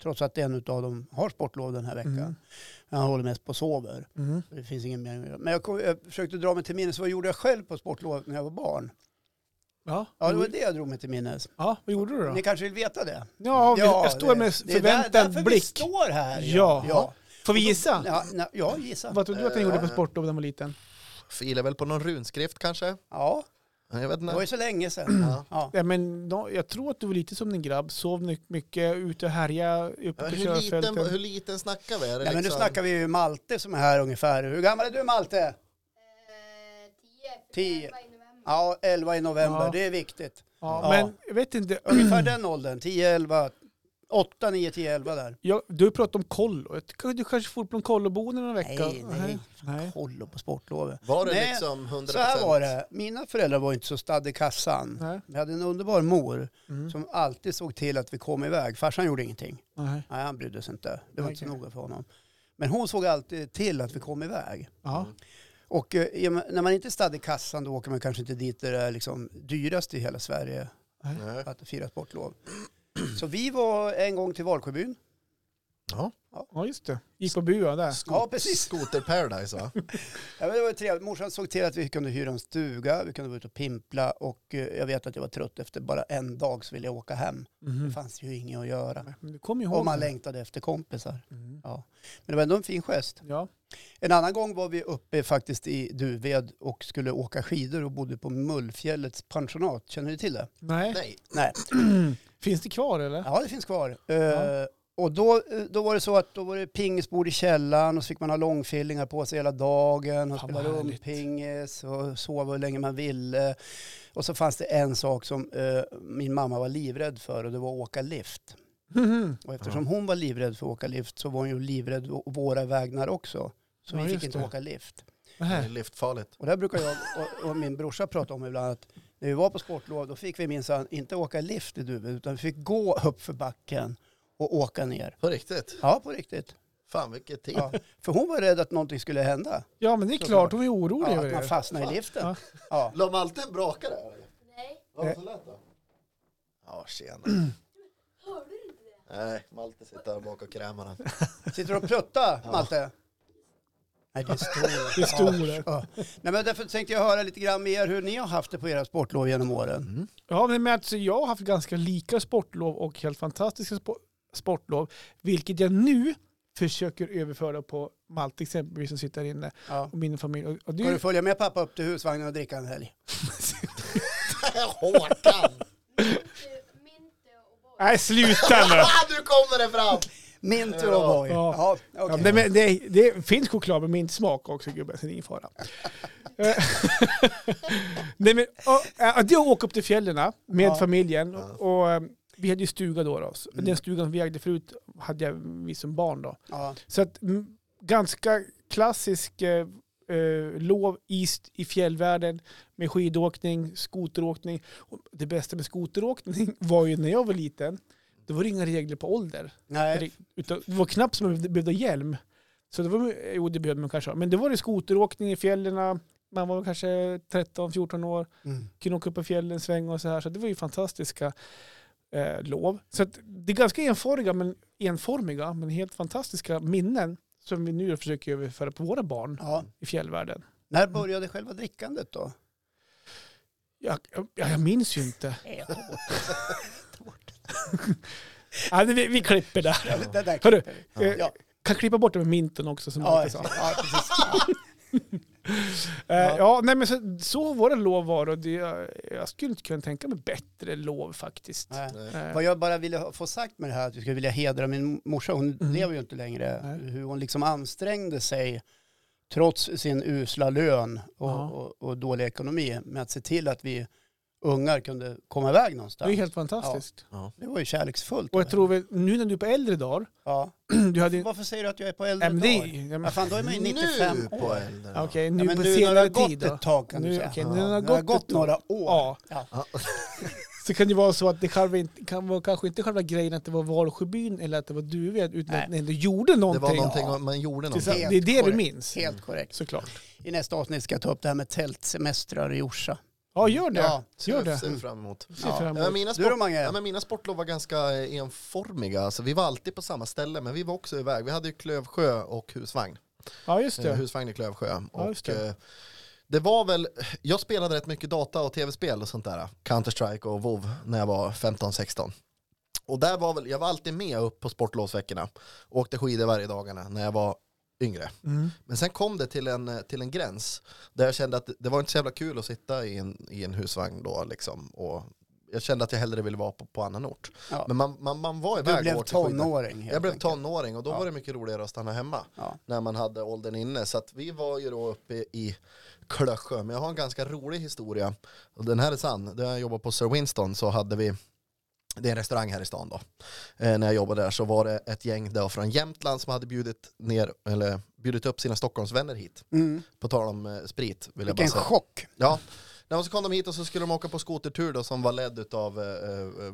Trots att en av dem har sportlov den här veckan. Mm. Men han håller mest på och sover. Mm. Det finns ingen mening med det. Men jag, kom, jag försökte dra mig till minnes, vad gjorde jag själv på sportlov när jag var barn? Ja. Ja, det var det jag drog mig till minnes. ja, vad gjorde du då? Ni kanske vill veta det? Ja, vi- jag står det- med det är där- förväntad därför vi blick. står här. Ja. ja. Får vi gissa? ja, na- ja gissa. Vad tror du att han gjorde Eh. på sportlov när han var liten? Filar väl på någon runskrift kanske? Ja, Jag vet det var inte. ju så länge sedan. Ja. Ja. Ja, men, no, jag tror att du var lite som din grabb, sov ny- mycket, ute och härjade, uppe på Hur liten, hur körfälten. liten snackar vi? Är det Nej, men nu liksom- snackar vi ju Malte som är här ungefär. Hur gammal är du Malte? Tio. Eh, Tio. Ja, 11 i november. Ja. Det är viktigt. Ja, Ja. men jag vet inte, Ungefär den åldern. 10, 11, 8, 9, 10, 11 där. jag, du pratar om kollo. Jag tycker Du kanske får på en kolloboende någon vecka? Nej, nej. nej. Håller på sportlovet. Var det Nej, liksom 100%? Så här var det. Mina föräldrar var inte så stadd i kassan. Nej. Vi hade en underbar mor Mm. som alltid såg till att vi kom iväg. Farsan gjorde ingenting. nej. Nej, han brydde sig inte. Det var inte så Okej. noga för honom. Men hon såg alltid till att vi kom iväg. Ja. Och eh, i och med- när man inte är stadd i kassan då åker man kanske inte dit där det är liksom dyrast i hela Sverige Nej. att fira sportlov. Så vi var en gång till Valsjöbyn. ja, just det. Gick på bua där. Ja, precis. Scooter Paradise va? Ja, men det var ju trevligt. Morsan såg till att vi kunde hyra en stuga, vi kunde vara ute och pimpla och eh, jag vet att jag var trött efter bara en dag så ville jag åka hem. Det Mhm. fanns ju inget att göra. Men Du kommer ihåg Och man det. längtade efter kompisar. Mm. Men det var ändå en fin gest. Ja. En annan gång var vi uppe faktiskt i Duved och skulle åka skidor och bodde på Mullfjällets pensionat. Känner ni till det? Nej. Nej. Nej. Finns det kvar eller? Ja, det finns kvar. Eh, och då, då var det så att då var det pingisbord i källaren och så fick man ha långfillingar på sig hela dagen och Fan, spela vad härligt. rumpingis och sova hur länge man ville. Och så fanns det en sak som eh, min mamma var livrädd för och det var att åka lift. Mhm. Och eftersom hon var livrädd för att åka lift så var hon ju livrädd å våra vägnar också. Så Ja, vi fick just inte det. åka lift. Det är Nej. liftfarligt. Och där brukar jag och, och min brorsa prata om ibland att när vi var på sportlov då fick vi minsann inte åka lift i Duved utan vi fick gå upp för backen och åka ner. På riktigt? Ja, på riktigt. Fan vilket tid. Ja. För hon var rädd att någonting skulle hända. Ja, men det är klart. Hon är orolig Ja, över att man det. fastnade i liften. Ja. Ja. La Malte en brakare? eller? Nej, Var det så lätt då? Ja tjena. hörde du inte det? Nej, Malte sitter här bak och krämar den. Sitter du och pluttar, Malte? Nej, det är stor. Det är stor. Ja. Nej, men därför tänkte jag höra lite grann med er hur ni har haft det på era sportlov genom åren. Ja, men med att så jag har haft ganska lika sportlov och helt fantastiska spo- sportlov, vilket jag nu försöker överföra på Malte exempelvis som sitter här inne Ja. och min familj. Och, och det, Ska är du ju- följa med pappa upp till husvagnen och dricka en helg? Håkan! Minte och Borg. Nej, sluta nu! Ah, nu kommer det fram! Min tur att vara i. Ja, Ja. Ja, okej. men det, det, det finns choklad med min smak också gubben, så det är ingen fara. Eh, Nej, men, och, eh, att jag åker upp till fjällen med Ja. familjen. Ja. Och, eh, vi hade ju stuga då. då. Så Mm. Den stugan som vi ägde förut hade jag, vi som barn då. ja. Så att mm, ganska klassisk eh, eh, lov i, st- i fjällvärlden med skidåkning, skoteråkning. Och det bästa med skoteråkning var ju när jag var liten, det var det inga regler på ålder. Nej, Eller, Utan, det var knappt som man behövde- behövde hjälm. Så det var, eh, jo, det behövde man kanske ha. Men det var det skoteråkning i fjällen. eh, Man var kanske 13-14 år. mm. Kunde åka upp i fjällen, svänga och så här. Så det var ju fantastiska eh, lov. Så att, det är ganska enformiga men, enformiga, men helt fantastiska minnen som vi nu försöker överföra på våra barn ja. i fjällvärlden. När började själva drickandet då? Jag, jag, jag minns ju inte. ja, det- vi, vi klipper där. Ja, men det där Hörru, klipper vi. Eh, Ja. Kan klippa bort det med minten också som Ja, Marcus sa. exakt. ja, precis. Ja. Eh, Ja. ja. nej men så, så våra lov var och det, jag, jag skulle inte kunna tänka mig bättre lov faktiskt. Nej. Eh, Vad jag bara ville ha- få sagt med det här, att vi skulle vilja hedra min morsa, hon Mm. lever ju inte längre, Nej. hur hon liksom ansträngde sig trots sin usla lön och, Ja. och, och dålig ekonomi med att se till att vi ungar kunde komma iväg det är ju någonstans. helt fantastiskt. Det var ju kärleksfullt. Och jag tror väl, nu när du är på äldre dagar, ja. du hade... Varför säger du att jag är på äldre Nej, men det, dagar? ja, men- Ja, fan, då är man ju 95 nu år. på elden. Okej, nu ja, men på nu när det senare har gått tid då. ett tag kan du Nu, säga. okej, Ja. nu när det har Det har gått, gått ett år, några år. Ja, Ja. så kan det vara så att det själva inte, kan vara, kanske inte själva grejen att det var Valsjöbyn eller att det var Duved utan Nej. att ni ändå gjorde Det någonting. var någonting, om- man gjorde Tills- någonting. det är Helt det du korrekt. minns, Helt korrekt. såklart. I nästa avsnitt ska jag ta upp det här med tältsemestrar i Orsa. Ja, gör det. Ja. Gör det. Mm. Ser vi fram emot. Ser Ja. fram Ja, emot. mina, Du då sport, Mange? ja, men mina sportlov var ganska eh, enformiga. Alltså, vi var alltid på samma ställe, men vi var också iväg. Vi hade ju Klövsjö och husvagn. Ja, just Eh, det. Husvagn i Klövsjö. Ja, och, just det. eh, det var väl, jag spelade rätt mycket data och tv-spel och sånt där. Counter-Strike och WoW när jag var 15-16. Och där var väl, jag var alltid med upp på sportlovsveckorna. Åkte skidor varje dagarna när jag var yngre. Mm. Men sen kom det till en, eh, till en gräns där jag kände att det var inte så jävla kul att sitta i en, i en husvagn då liksom. Och jag kände att jag hellre ville vara på, på annan ort. Ja. Men man, man, man var iväg Du blev och åkte skidor. tonåring helt Jag blev enkelt. tonåring och då Ja. var det mycket roligare att stanna hemma Ja. när man hade åldern inne. Så att vi var ju då uppe i Klösjö. Men jag har en ganska rolig historia. Och den här är sann. Där jag jobbade på Sir Winston så hade vi, det är en restaurang här i stan då. Eh, när jag jobbade där så var det ett gäng där från Jämtland som hade bjudit, ner, eller bjudit upp sina Stockholmsvänner hit. Mm. På tal om eh, sprit vill jag bara Vilken säga. chock. Ja, när man så kom de hit och så skulle de åka på skotertur då som var ledd av eh,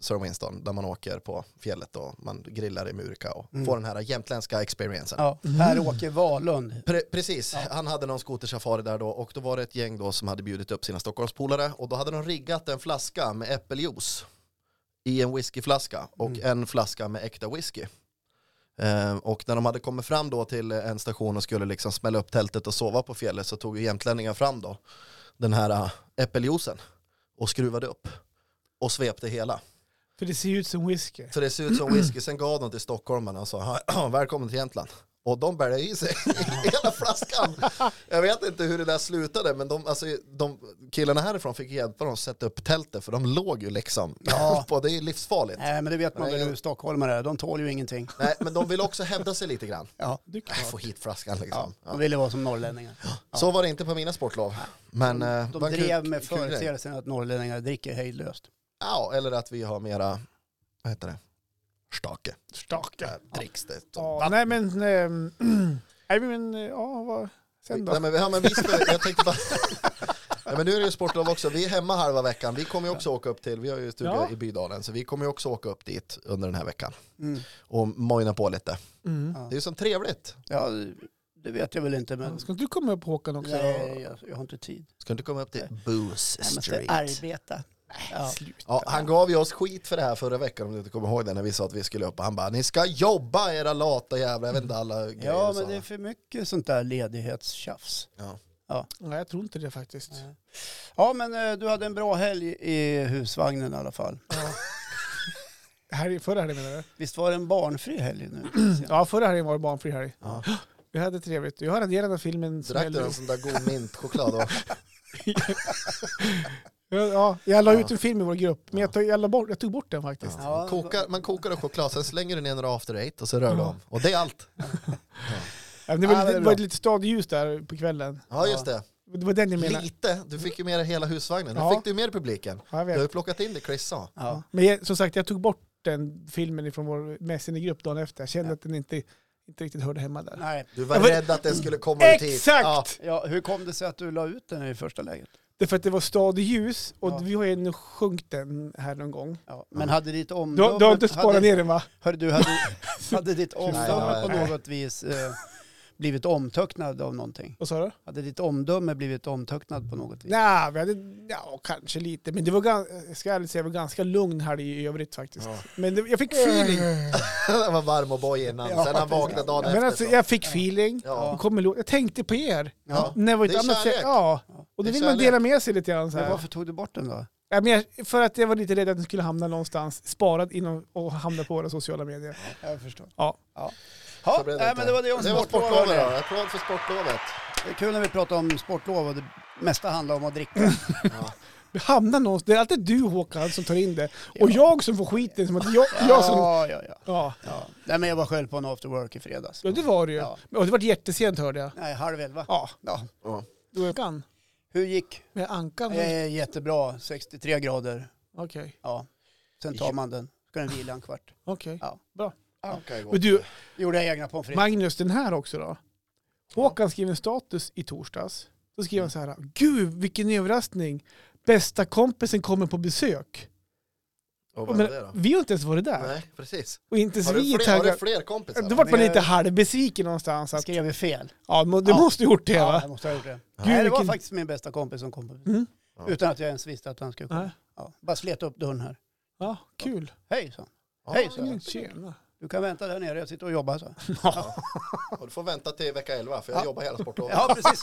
Sir Winston där man åker på fjället och man grillar i Murka och Mm. får den här jämtländska experiencen. Ja. Mm. Per-Åke Wahlund. Pre- precis, han hade någon skotersafari där då och då var det ett gäng då som hade bjudit upp sina Stockholmspolare och då hade de riggat en flaska med äppeljuice i en whiskyflaska och en flaska med äkta whisky. Eh, och när de hade kommit fram då till en station och skulle liksom smälla upp tältet och sova på fjället så tog ju jämtlänningen fram då den här eh, äppeljuicen och skruvade upp och svepte hela. För det ser ju ut som whisky. Så det ser ut som whisky, sen gav de till stockholmarna och sa "Ja, välkommen till Jämtland. Och de bärgade i sig hela flaskan. Jag vet inte hur det där slutade men de, alltså, de killarna härifrån fick hjälpa dem att sätta upp tältet för de låg ju liksom Ja. på, det är ju livsfarligt. Nej, men det vet man Nej, väl jag- hur stockholmare är. De tål ju ingenting. Nej, men de vill också hävda sig lite grann. Ja. Du, Äh, Få hit flaskan Ja. liksom. De Ja. ville vara som norrlänningar. Så var det inte på mina sportlov. Men, eh, De var en kul- drev med kul grej. företeelsen att norrlänningar dricker hejdlöst. Ja, eller att vi har mera, vad heter det, stake. staka. Där Dricks det. Ja, nej men... ehm, Nej men, eh, ja vad... Sen då? Nej, men, ja, men vi ska, jag tänkte bara... Nej, men nu är det ju sportlov också. Vi är hemma halva veckan. Vi kommer ju också åka upp till, vi har ju stuga Ja. i Bydalen, så vi kommer ju också åka upp dit under den här veckan Mm. och mojna på lite. Mm. Det är ju som trevligt. Ja, det vet jag väl inte, men Ska inte du komma upp Håkan också? nej, jag, jag har inte tid. Ska inte komma upp till Booze Jag måste Street. arbeta. Ja. Slut. Ja, han gav ju oss skit för det här förra veckan om du inte kommer ihåg det när vi sa att vi skulle upp. Han bara, ni ska jobba era lata jävlar. Jag vet inte alla grejer. ja, och men det är sådana. för mycket sånt där ledighetstjafs. Nej jag tror inte det faktiskt. Ja, men eh, du hade en bra helg i husvagnen i alla fall. Här, förra helgen menar du? Visst var det en barnfri helg nu? Ja förra helgen var det barnfri helg. Ja. Vi hade trevligt. Jag har raderat den här filmen. som Drack du jag- en sån där god mintchoklad? och- Ja, jag la Ja. ut en film i vår grupp, men jag tog, jag la bort, jag tog bort den faktiskt. Ja, man, kokar, man kokar en choklad, sen slänger du ner några after eight och så rör du Ja. om. Och det är allt. Ja. Det Ja, var, det är lite, det bra. var lite stadljus där på kvällen. Ja, just det. Det var den jag menade. Lite. Du fick ju med dig hela husvagnen. Du Ja. fick du med dig publiken. Ja, jag Du har vet. ju plockat in det Chris sa. Ja. Men jag, som sagt, jag tog bort den filmen ifrån vår Messenger-grupp dagen efter. Jag kände att den inte, inte riktigt hörde hemma där. Nej. Du var Ja, men- rädd att det skulle komma ut hit. Exakt! Ja. Ja, hur kom det sig att du la ut den i första läget? Det är för att det var stadljus och Ja. vi har ju nu sjunkit den här någon gång. Ja. Men hade ditt omdöme... Du, har- du har inte sparat hade, ner den va? Hörru du, hade, hade ditt Nej, omdöme på nej, något vis eh, blivit omtöcknad av någonting? Vad sa du? Hade ditt omdöme blivit omtöcknad på något vis? Nej, vi hade, ja, kanske lite. Men det var ganska, jag ska ärligt säga, jag var ganska lugn här i övrigt faktiskt. Men det, jag fick feeling. Han var varm och boj innan. Ja, sen han vaknade dagen Men efter. alltså, så. jag fick feeling. Ja. Jag, kommer ihåg- jag tänkte på er. Ja. När var Det är annat sätt. kärlek. Ja. Och Det då är vill man kärlek. dela med sig lite grann. Så Men här. varför tog du bort den då? Ja, men jag, för att jag var lite rädd att den skulle hamna någonstans sparad inom, och hamna på våra sociala medier. Jag förstår. Ja. ja. Så Ha, blev nej, inte. men det var det om det var sportlovet. sportlovet. då. Applåd för sportlovet. Det är kul när vi pratar om sportlov och det mesta handlar om att dricka. Vi hamnar någonstans. Det är alltid du Håkan som tar in det. Och jag som får skiten. Som att jag, jag som, Ja, ja, ja. ja. ja. Nej, men jag var själv på en after work i fredags. ja, det var det ju. Ja. Och det var jättesent hörde jag. Nej, halv elva. Ja, Ja. Ja. då är jag Hur gick? Med ankan? Okej. Eh, jättebra, 63 grader. Ja. Sen tar man den. Ska den vila en kvart. Okej. Ja. Bra. Okay, Men du, Gjorde jag egna pommes frites. Magnus, den här också då. Håkan skrev en status i torsdags. Då skrev han så Mm. här, gud vilken överraskning. Bästa kompisen kommer på besök. och Men, vad är det då? vi har inte ens varit där. Nej, precis. Och inte ens Har du vi är fler, har du taggade. fler kompisar? Då vart man Det- lite halvbesviken någonstans. Att, Skrev vi fel? ja, må- du Ja. måste ha gjort det Ja, va? jag måste ha gjort det. Gud, Nej, det var vilken- faktiskt min bästa kompis som kom på Mm. Ja. Utan att jag ens visste att han skulle komma. Nej. Ja. Bara slet upp dörren här. Ja, kul. Mm, Hej, så. Ja, Hej, så. Tjena. Du kan vänta där nere, jag sitter och jobbar, så. och du får vänta till vecka 11 för jag Ja. jobbar hela sportlovet. Ja, precis.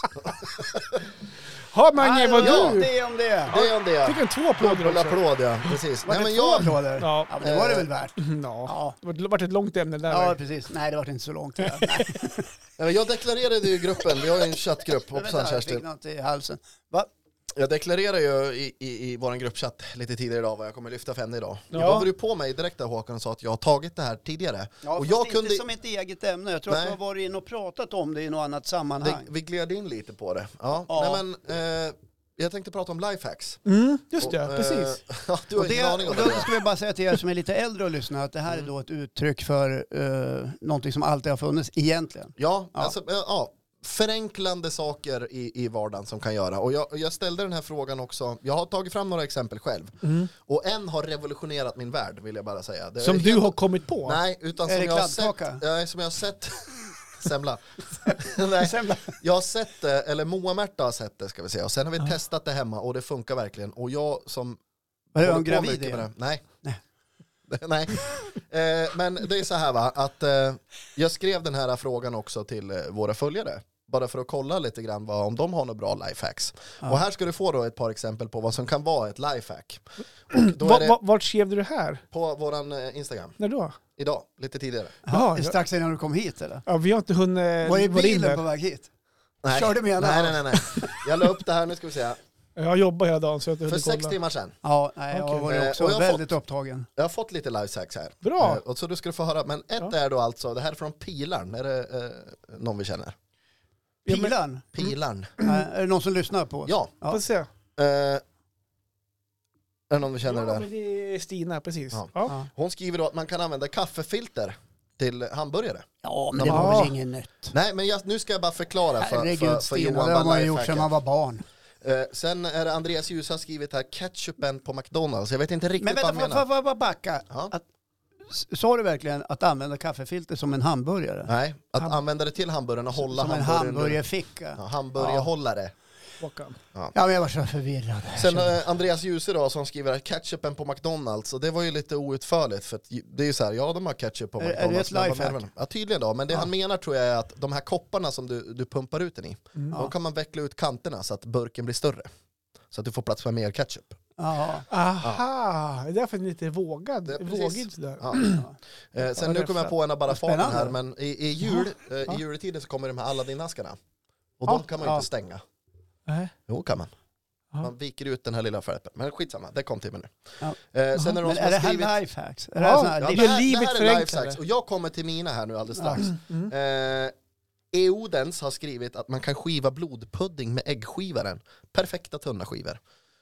Ja, Mange, vad ja, du! det är om det. Det är om Fick det. en två applåder Dubbel också. applåd ja, precis. Var Nej, det men två jag, applåder? Ja. Ja, men det var det väl värt. ja. Ja, Det vart- vart ett långt ämne där. ja va? precis. Nej, det var inte så långt. Ja. nej, men jag deklarerade ju i gruppen, vi har ju en chattgrupp, hoppsan jag fick Kerstin. något i halsen. Va? Jag deklarerade ju i, i, i vår gruppchatt lite tidigare idag vad jag kommer lyfta för ämne idag. Ja. Då var du på mig direkt där Håkan och sa att jag har tagit det här tidigare. Ja, och fast jag inte kunde, som ett eget ämne. Jag tror att Nej. du har varit inne och pratat om det i något annat det, sammanhang. vi gled in lite på det. Ja. Ja. Nej, men, eh, jag tänkte prata om lifehacks. Mm, just det, Och, eh, precis. ja, du Och har ingen det, Mm. aning och om då det. skulle jag bara säga till er som är lite äldre och lyssnar att det här är då ett uttryck för uh, någonting som alltid har funnits egentligen. Ja, Ja. Alltså, eh, ja, förenklande saker i, i vardagen som kan göra. Och jag, jag ställde den här frågan också, jag har tagit fram några exempel själv. Och en har revolutionerat min värld vill jag bara säga. Det är Mm. Som du helt- har kommit på. Nej, utan Är som det jag, har kladdkaka? sett, nej, som jag har sett... Semla. nej, Semla. jag har sett det, eller Moa-Märta har sett det ska vi säga. Och sen har vi testat det hemma och det funkar verkligen. Och jag som Är Håller hon på gravid mycket med igen? det. Nej. Nej. Nej. Eh, men det är så här va, att eh, jag skrev den här frågan också till eh, våra följare. Bara för att kolla lite grann vad, om de har några bra lifehacks. Och här ska du få då ett par exempel på vad som kan vara ett lifehack. Och då Va, är det va, vart skrev du det här? på våran eh, Instagram, När då? idag, lite tidigare. Ja, Ja, strax innan du kom hit eller? Ja, vi har inte hunnit Var är vara in bilen på där. väg hit? Nej. Körde med henne? nej, nej, nej, nej. Jag la upp det här, nu ska vi se. Jag jobbar hela dagen så jag har inte För hunnit sex kolla. timmar sedan. Ja, nej, jag Okej. var Eh, ju också och jag har väldigt upptagen. Jag har fått lite lifehacks här. Bra. Eh, och så du ska få höra, men ett är då alltså, det här är från Pilarn, är det eh, någon vi känner? Mm. Ja, men- Pilan? Pilarn, Nej, är det någon som lyssnar på oss? ja. Får se. Eh, är det någon vi känner Ja, där? men det är Stina, precis. Ja. Ja. Ja. Hon skriver då att man kan använda kaffefilter till hamburgare. Ja, men Ja. det var väl inget nytt. Nej, men jag, nu ska jag bara förklara för, för, Herregud för Stina, Johan det har vad man ju gjort lifehack sedan man är. var barn. Eh, Sen är det Andreas Ljus har skrivit här, ketchupen på McDonalds. Jag vet inte riktigt Men vad vänta, han får menar. jag- får jag bara backa? Ja. Att, s- sa du verkligen att använda kaffefilter som en hamburgare? Nej, att använda det till hamburgaren och hålla som en hamburgaren. ur- hamburgerficka? Ja, Ja. hamburgerhållare. Håkan. men jag var så förvirrad. Sen eh, Andreas Djuse då som skriver att ketchupen på McDonalds och det var ju lite outförligt för att ju- det är ju så här, ja de har ketchup på Är- är det McDonalds. ett men vad lifehack? menar de? Ja tydligen då, men det han menar tror jag är att de här kopparna som du, du pumpar ut den i, Mm. de kan man veckla ut kanterna så att burken blir större. Så att du får plats med mer ketchup. Ja. Aha, det är därför den är lite vågad. Det- precis. Vågig sådär. Ja. Eh, sen nu kommer jag på en av bara farten här, men i, i, jul, eh, i juletiden så kommer de här Aladdin-askarna. Och de Ja. kan man ju Ja. inte stänga. Nej. Jo kan man. Ja. Man viker ut den här lilla skärpen. Men skitsamma, det kom till mig nu. Ja. Eh, sen är det någon Men som är det har här skrivit... lifehacks? Är det Ja, här såna här ja, det, liv- men- här, det livet här är förenklare. lifehacks och jag kommer till mina här nu alldeles strax. Mm. Eh, Eodens har skrivit att man kan skiva blodpudding med äggskivaren. Perfekta tunna skivor.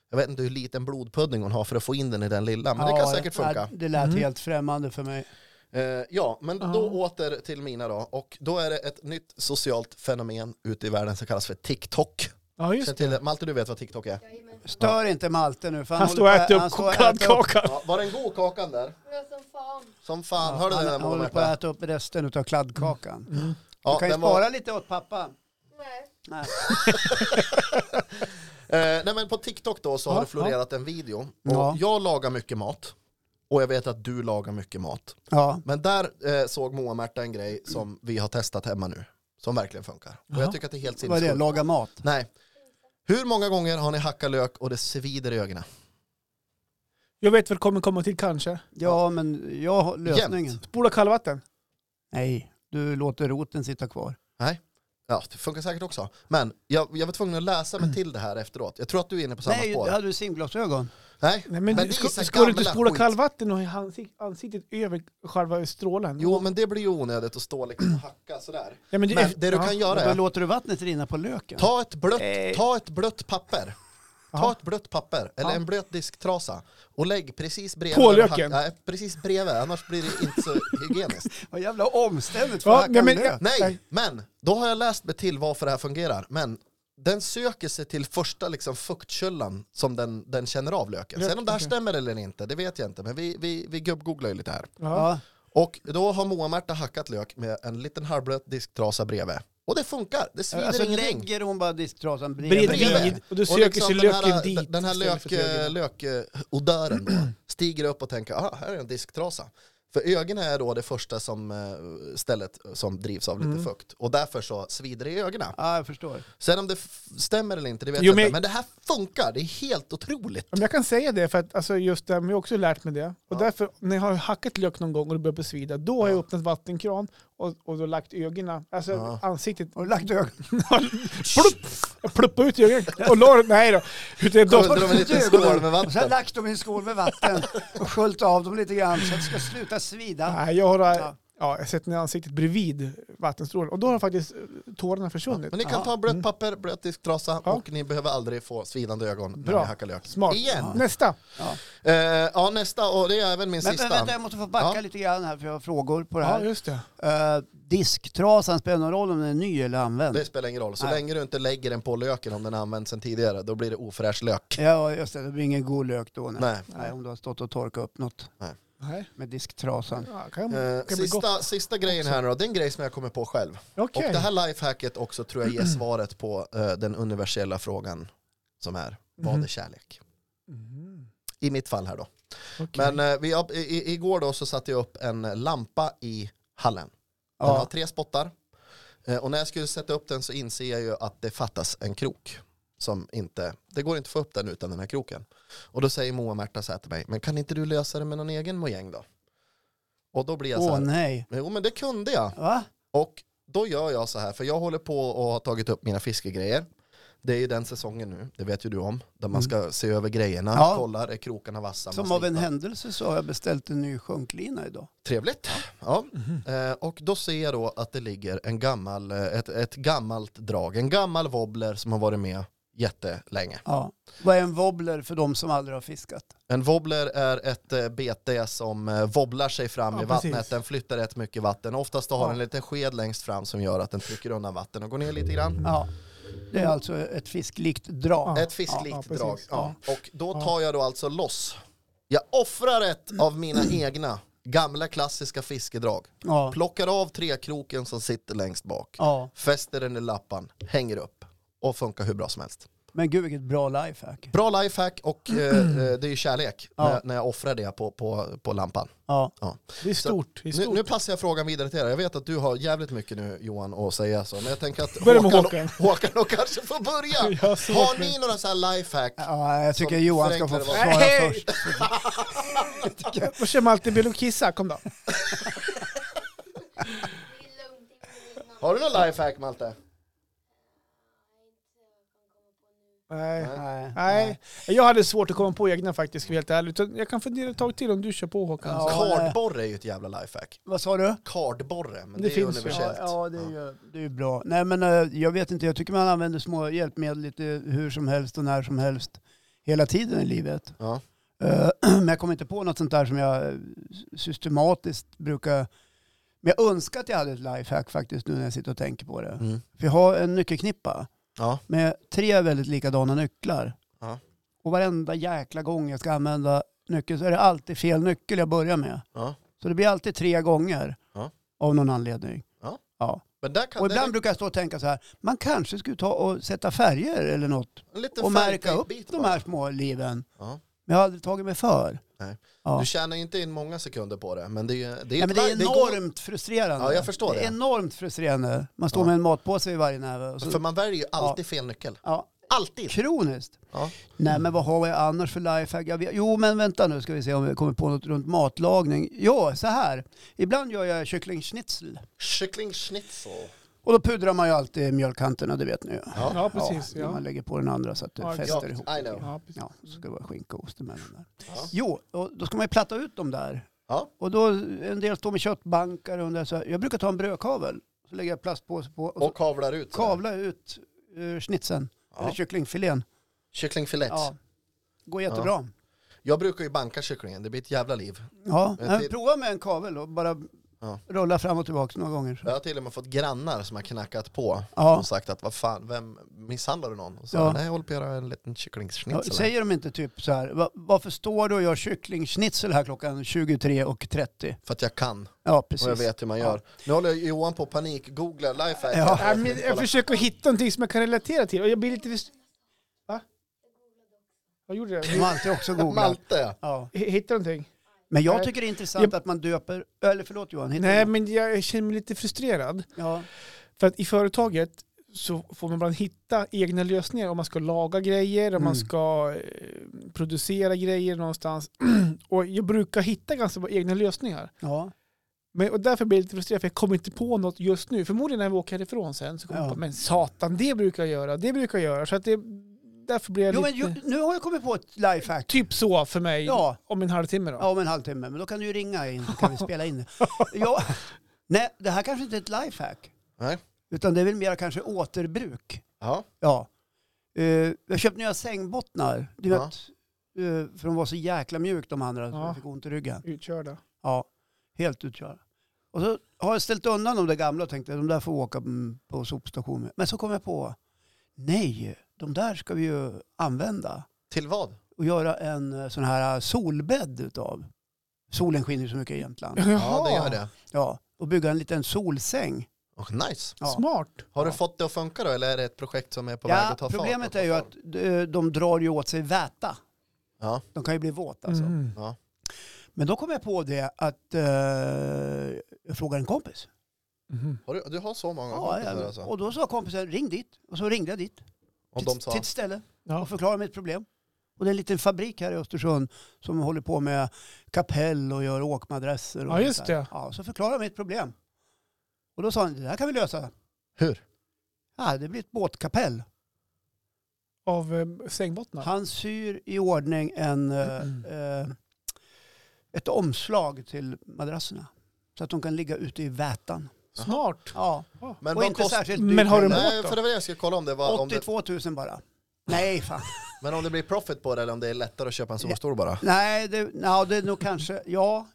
Jag vet inte hur liten blodpudding hon har för att få in den i den lilla, men det kan Ja, säkert funka. nej, Det lät Mm. helt främmande för mig. Eh, ja, men då Ja. åter till mina då. Och då är det ett nytt socialt fenomen ute i världen som kallas för TikTok. Ja, Känn just till det. det. Malte, du vet vad TikTok är? Jajamän. Stör inte Malte nu. För Han håller står och på- äter han upp står och kokad äter upp- kaka. Ja, var den god kakan där? Men som fan. Som fan, hörde du han den där han håller på Moa-Märta? att äta upp resten av kladdkakan. Ja, du kan ju den var- spara lite åt pappa. Nej. Nej. Eh, nej men på TikTok då så Ja, har det florerat en video. Och Ja. Jag lagar mycket mat. Och jag vet att du lagar mycket mat. Ja. Men där eh, såg Moa-Märta en grej som vi har testat hemma nu. Som verkligen funkar. Och jag Jaha. tycker att det är helt Vad är det? sinnessjukt. Laga mat? Nej. Hur många gånger har ni hackat lök och det svider i ögonen? Jag vet vad det kommer komma till kanske. Ja, men jag har lösningen. Spola kallvatten. Nej, du låter roten sitta kvar. Ja, det funkar säkert också. Men jag, jag var tvungen att läsa mig till det här efteråt. Jag tror att du är inne på samma Nej, spår. hade du simglasögon? Nej? Nej, men men Men det är så ska, ska du inte gamla spola skit. kallvatten och ha ansik- ansiktet över själva strålen? Jo, men det blir ju onödigt att stå liksom och hacka sådär. ja, men Men det du ja. kan göra Då är låter du vattnet rinna på löken. Ta ett blött, Eh. ta ett blött papper. Ta Ja. ett blött papper eller Ja. en blöt disktrasa och lägg precis bredvid. På löken? Nej, precis bredvid, annars blir det inte så hygieniskt. Vad jävla omständigt för Ja, att hacka nej, men- lök. Nej, Nej. men då har jag läst mig till varför det här fungerar. Men den söker sig till första liksom, fuktkällan som den, den känner av löken. Lök, Sen om det här okej. stämmer eller inte, det vet jag inte. Men vi, vi, vi gubbgooglar ju lite här. Ja. Ja. Och då har Moa-Märta hackat lök med en liten halvblöt disktrasa bredvid. Och det funkar, det svider Alltså ingenting. lägger hon bara disktrasan bredvid. Bredvid. Och då Och söker liksom sig den löken här, dit. Den här istället för till ögonen. lökodören lök, lökodören då stiger upp och tänker, ah, här är en disktrasa. För ögonen är då det första som, eh, stället som drivs av lite Mm. fukt. Och därför så svider det i ögonen. Ja, jag förstår. Sen om det f- stämmer eller inte, det vet Jo, jag inte. men- Men det här funkar, det är helt otroligt. Ja, men Jag kan säga det, för att alltså, just det, men jag har också lärt mig det. Och därför, när jag har hackat lök någon gång och det börjar besvida, då har jag öppnat vattenkran och, och då lagt ögonen, alltså Ja. ansiktet, Har du lagt ögon? plupp, jag pluppade ut ögonen och la nej då. Utan då Kunde de en liten skål med Och sen vatten? lagt dem i en skål med vatten och sköljt av dem lite grann så att det ska sluta svida. nej, jag har Ja. ja. jag har sett ner ansiktet bredvid vattenstrålen och då har faktiskt eh, tårarna försvunnit. Men ni kan Ja. ta blött papper, blöt disktrasa Mm. Ja. och ni behöver aldrig få svidande ögon när Bra. ni hackar lök. Smart. Igen! Nästa. Eh, ja, nästa, och det är även min Men, men sista. vänta, jag måste få backa Ja. lite grann här för jag har frågor på det Ja, här. just det. Eh, disktrasan spelar någon roll om den är ny eller använd? Det spelar ingen roll. Så Nej. länge du inte lägger den på löken om den har använts sen tidigare, då blir det ofräsch lök. Ja, just det. Det blir ingen god lök då. Nej. Nej. Nej, om du har stått och torkat upp något Nej. med disktrasan. Ja, kan, Eh, kan bli gott. sista, sista grejen här nu då, det är en grej som jag kommer på själv. Okej. Och det här lifehacket också tror jag ger svaret på eh, den universella frågan som är, vad är Mhm. kärlek? Mhm. I mitt fall här då. Okej. Men eh, vi, har- i, i, igår då så satte jag upp en lampa i hallen. Den har Ja. tre spottar. Eh, och när jag skulle sätta upp den så inser jag ju att det fattas en krok. Som inte, det går inte att få upp den utan den här kroken. Och då säger Moa Märta så här till mig, men kan inte du lösa det med någon egen mojäng då? Och då blir jag så Åh här, nej. jo men det kunde jag. Va? Och då gör jag så här, för jag håller på och har tagit upp mina fiskegrejer. Det är ju den säsongen nu, det vet ju du om, där man ska se över grejerna, Mm. Ja. kolla, är krokarna vassa? Som Man av en slipar. händelse så har jag beställt en ny sjunklina idag. Trevligt. Ja. Mhm. Eh, och då ser jag då att det ligger en gammal, eh, ett, ett gammalt drag, en gammal wobbler som har varit med jättelänge. Ja. Vad är en wobbler för de som aldrig har fiskat? En wobbler är ett eh, bete som eh, wobblar sig fram Ja, i vattnet, precis. den flyttar rätt mycket vatten. Oftast har Ja. den en liten sked längst fram som gör att den trycker undan vatten och går ner lite grann. Ja. Det är alltså ett fisklikt drag. Ja. Ett fisklikt Ja, precis. drag. Ja. Och då tar jag då alltså loss. Jag offrar ett Mm. av mina egna gamla klassiska fiskedrag. Ja. Plockar av trekroken som sitter längst bak. ja. Fäster den i lappan, hänger upp och funkar hur bra som helst. Men gud vilket bra lifehack. Bra lifehack och eh, Mm. eh, det är ju kärlek Ja. när, när jag offrar det på, på, på lampan. Ja. Det är stort. Det är Nu, stort. nu passar jag frågan vidare till er. Jag vet att du har jävligt mycket nu Johan att säga så, men jag tänker att Börja med Håkan, Håkan och kanske får börja. Jag såg Har mig. ni några så här lifehack? ja jag tycker Som Johan ska få förenklade svara vad- Nej! först. Och kör Malte Bill och kissa, kom då. Det är lugnt. det är innan. Har du någon lifehack Malte? Nej, inte vad jag kan komma på nu. Nej. Nej. Nej, jag hade svårt att komma på egna faktiskt, ska jag vara helt ärligt. Utan Jag kan fundera ett tag till om du kör på Håkan. Ja, Kardborre är ju ett jävla lifehack. Vad sa du? Kardborre, men Det det, är ju finns ju. universellt. Ja, ja, det är ju det är ju bra. Nej, men eh, jag vet inte, jag tycker man använder små hjälpmedel lite hur som helst och när som helst hela tiden i livet. Ja. Eh, Men jag kommer inte på något sånt där som jag eh, systematiskt brukar... Men jag önskar att jag hade ett lifehack faktiskt nu när jag sitter och tänker på det. Mm. För jag har en nyckelknippa Ja. med tre väldigt likadana nycklar. Ja. Och varenda jäkla gång jag ska använda nyckeln så är det alltid fel nyckel jag börjar med. Ja. Så det blir alltid tre gånger Ja. av någon anledning. Ja. Ja. Men där kan Och ibland det brukar jag stå och tänka så här, man kanske skulle ta och sätta färger eller något en liten och märka upp färgtejpbit de bara. här små liven. Ja. Men jag har aldrig tagit mig för. Nej. Ja. Du tjänar ju inte in många sekunder på det, men det är ju... Det är, Nej, ett men det är li- går- enormt frustrerande. Ja, jag förstår är det. enormt frustrerande. Man står Ja. med en matpåse i varje näve. Och För så, man väljer ju alltid fel nyckel. ja, Alltid! kroniskt. Ja. Nej, men vad har jag annars för lifehack? Jag vet- Jo, men vänta nu ska vi se om vi kommer på något runt matlagning. Jo, så här. Ibland gör jag kycklingschnitzel. Kyckling schnitzel. Och då pudrar man ju alltid mjölkkanterna, det vet ni ju. Ja, precis. Ja, när Ja. Man lägger på den andra så att det Ja, fäster exakt. ihop. I know. Ja, precis. Ja, så ska det vara skinka och ost emellan där. Ja. Jo, och då ska man ju platta ut dem där. Ja. Och då, en del står med köttbankar och en del så här. Jag brukar ta en brödkavel, så lägger jag plastpåse på och, så Och kavlar ut. sådär. kavla ut uh, schnitzeln, eller Ja. kycklingfilén. Kycklingfilett. Ja. Går jättebra. Jag brukar ju banka kycklingen, det blir ett jävla liv. Ja. Men men till- Prova med en kavel och bara Ja. rulla fram och tillbaka några gånger. Så. Jag har till och med fått grannar som har knackat på Ja. och sagt att vad fan, vem misshandlar du någon? Och så, Ja. nej jag håller på att göra en liten Ja, kycklingsschnitzel. här." säger de inte typ så här, "Va- varför står du och gör kycklingschnitzel här klockan 23.30? För att jag kan Ja, och precis. jag vet hur man gör. Nu håller Johan på att panikgoogla lifehack. Ja. Ja, men jag försöker hitta någonting som jag kan relatera till och jag blir lite... först- Va? Vad gjorde De jag? har alltid också googlat. Malte, Ja. H- Hittade någonting? Men jag Nej. tycker det är intressant att man döper, eller förlåt Johan, hittar Nej, du? men jag känner mig lite frustrerad. ja. För att i företaget så får man ibland hitta egna lösningar om man ska laga grejer, om man Mm. ska eh, producera grejer någonstans. och jag brukar hitta ganska bra egna lösningar. ja. Men, och därför blir jag lite frustrerad för jag kommer inte på något just nu. Förmodligen när vi åker härifrån sen så kommer Ja. jag på, men satan det brukar jag göra, det brukar jag göra. Så att det, därför blir jag Jo, men lite... ju, nu har jag kommit på ett lifehack. Typ så för mig Ja. om en halvtimme då. Ja, om en halvtimme. Men då kan du ju ringa in så kan vi spela in det. Ja. Nej, det här kanske inte är ett lifehack. Nej. Utan det är väl mer kanske återbruk. ja. Ja. Eh, jag köpte nya sängbottnar. Du Ja. vet, eh, för de var så jäkla mjukt de andra. Så Ja. jag fick ont i ryggen. Utkörda. Ja, helt utkörda. Och så har jag ställt undan de där gamla och tänkte de där får åka mm, på sopstationen. Men så kom jag på, nej, de där ska vi ju använda till vad? och göra en eh, sån här eh, solbädd utav. Solen skiner ju så mycket i Jämtland. Jaha, Ja, det gör det. Ja, och bygga en liten solsäng. Och nice. Ja. Smart. Har du Ja. fått det att funka då, eller är det ett projekt som är på väg Ja, att ta fart? problemet och ta är ju form? att eh, de drar ju åt sig väta. Ja. De kan ju bli våta alltså. Mm. Men då kom jag på det att eh, jag frågade en kompis. Mhm. Har du, du har så många Ja, kompisar ja. alltså? Och då sa kompisen ring dit. Och så ringde jag dit. Och till, de sa, till ett ställe Ja. och förklara mitt problem. Och det är en liten fabrik här i Östersund som håller på med kapell och gör åkmadrasser. Och Ja, just sånt där. det. Ja, så förklara jag mitt problem. Och då sa han, det här kan vi lösa. hur? Ja, det blir ett båtkapell. Av eh, sängbottnar. Han syr i ordning en, eh, eh, ett omslag till madrasserna. Så att de kan ligga ute i vätan. Smart. Ja, Men och vad inte kostar... särskilt Men dyrt har du heller. mått Nej, då? för det var det jag skulle kolla om det var... Om det, 82 000 bara. Nej, fan. men om det blir profit på det eller om det är lättare att köpa en solstol bara? Nej, det, no, det är nog kanske, ja.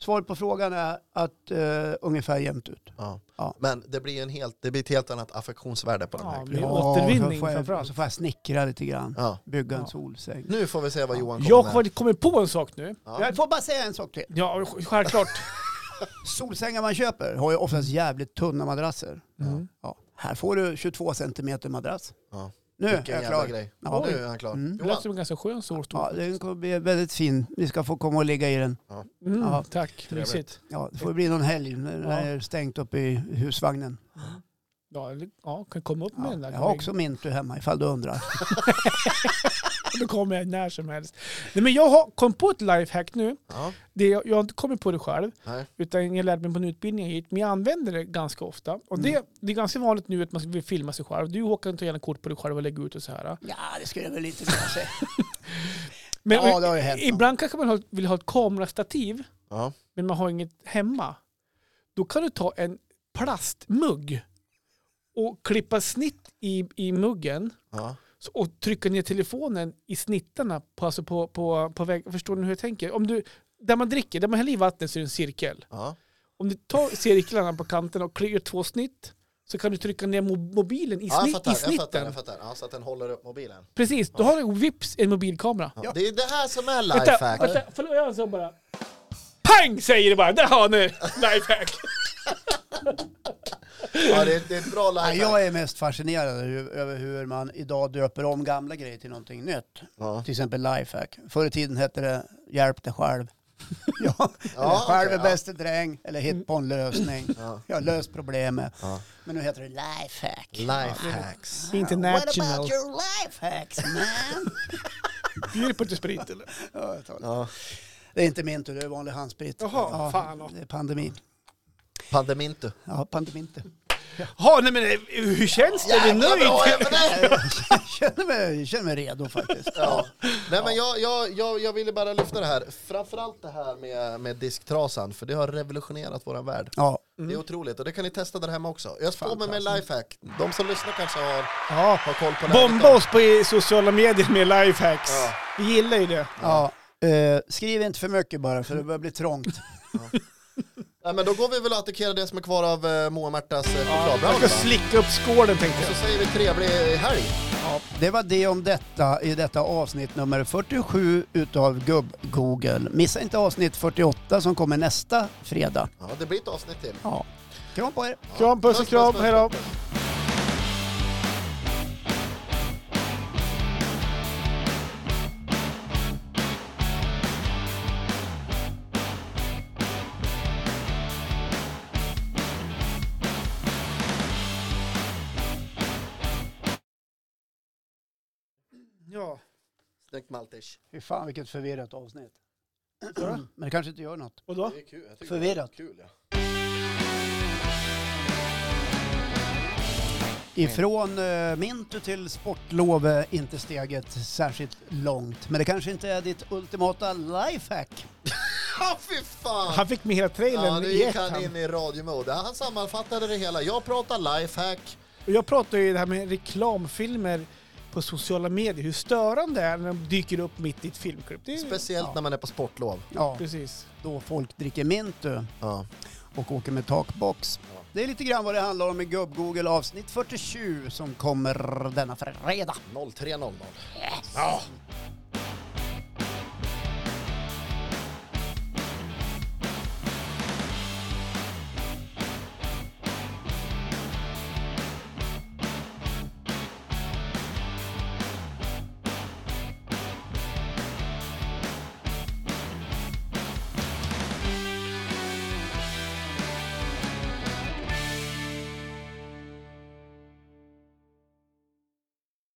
Svaret på frågan är att eh, ungefär jämnt ut. Ja. Ja. Men det blir, en helt, det blir ett helt annat affektionsvärde på den Ja, här. men- Det är så återvinning får jag, framförallt. så får jag snickra lite grann. Ja. Bygga en Ja. solsäng. Nu får vi se vad Johan kommer Jag med. har kommit på en sak nu. Ja. Jag får bara säga en sak till. Ja, sj- självklart. Solsängar man köper har ju oftast jävligt tunna madrasser. Mm. Ja. Här får du 22 centimeter madrass. Ja. Nu är jag Vilken jävla klar. grej. Ja. Nu är han klar. Mm. Det lät Johan, som en ganska skön solstol. Ja, den kommer bli väldigt fin. Ni ska få komma och ligga i den. Mm, Ja. Tack, Trevligt. mysigt. Ja, det får bli någon helg när den Ja. är stängt uppe i husvagnen. Ja, eller- ja, kan komma upp med Ja, den där. jag har också mintu hemma ifall du undrar. Då kommer jag när som helst. Nej, men jag har kom på ett lifehack nu. Ja, Det, jag, jag har inte kommit på det själv, nej. utan jag lärde mig på en utbildning hit. Men jag använder det ganska ofta. Och Mm. det, det är ganska vanligt nu att man vill filma sig själv. Du Håkan tar gärna kort på dig själv och lägger ut och så här. Ja, det skulle jag väl inte vilja säga. Men Ja, det har ju hänt. någon. ibland kanske man har- vill ha ett kamerastativ, Ja. men man har inget hemma. Då kan du ta en plastmugg och klippa snitt i, i muggen Ja. Så- och trycka ner telefonen i snittarna på, alltså på, på, på väg. Förstår ni hur jag tänker? Om du, där man dricker, där man häller i vattnet så är det en cirkel. Ja. Om du tar cirklarna på kanten och kliar två snitt så kan du trycka ner mo- mobilen i, Ja, jag snitt, fattar, i jag fattar, snitten. jag fattar. Ja, så att den håller upp mobilen. Precis, då har du vips en mobilkamera. Ja. Det är det här som är Vänta, lifehack. vänta, förlåt, jag sa bara... Pang säger det bara, där har ni lifehack! Ja, det, är, det är ett bra Nej, lifehack. jag är mest fascinerad över- över hur man idag döper om gamla grejer till någonting nytt. Ja. Till exempel lifehack. Förr i tiden hette det hjälp dig själv. ja, eller Ja, själv okej, är ja. Mm. bäste dräng. Eller hit på en lösning. Ja. Ja, lös problemet. Ja. Men nu heter det lifehack. Lifehacks. What International. about your lifehacks man? Bjuder på lite sprit eller? ja, jag tar det. Ja. det är inte min tur, det är vanlig handsprit. Jaha, ja, fan också. Det är pandemi. Pandemintu. Ja, pandemi inte. Ja, nej men eh, hur känns det? Är du Jävla bra nöjd? ämne! jag, känner mig, jag känner mig redo faktiskt. Ja. Nej, men jag, jag, jag, jag ville bara lyfta det här. Framförallt det här med, med disktrasan, för det har revolutionerat vår värld. Ja, Det är otroligt, och det kan ni testa där hemma också. Jag spår mig Mm. med lifehack. De som lyssnar kanske har, Ja. har koll på läget. Bomba oss på i sociala medier med lifehacks. Ja. Vi gillar ju det. ja. Eh, skriv inte för mycket bara för det börjar bli trångt. Nej, men då går vi väl och attackerar det som är kvar av eh, Moa Märtas eh, Jag chokladbröd. ska va? slicka upp skålen tänkte så jag. säger vi trevlig helg. Det var det om detta i detta avsnitt nummer 47 utav Gubb-Google. Missa inte avsnitt 48 som kommer nästa fredag. Ja, det blir ett avsnitt till. Ja. Kram på er! Kram, puss och kram, hej då. Ja, Snyggt Maltish. Fy fan vilket förvirrat avsnitt. Mm, Men det kanske inte gör något. och då? är kul. Jag tycker Förvirrat. det är kul, ja. Ifrån eh, Mintu till sportlov är inte steget särskilt långt. Men det kanske inte är ditt ultimata lifehack. Ja, fy fan! Han fick med hela trailern Ja, nu i gick ett. han Han. in i radiomode. Han sammanfattade det hela. Jag pratar lifehack. Och jag pratar ju det här med reklamfilmer på sociala medier, hur störande det är när de dyker upp mitt i ett filmklipp. Det är ju... Speciellt när man är på sportlov. Ja, Precis. då folk dricker Mintu Ja. och åker med takbox. Det är lite grann vad det handlar om i Gubb-Google avsnitt 47 som kommer denna fredag. 03.00. Yes. Ja.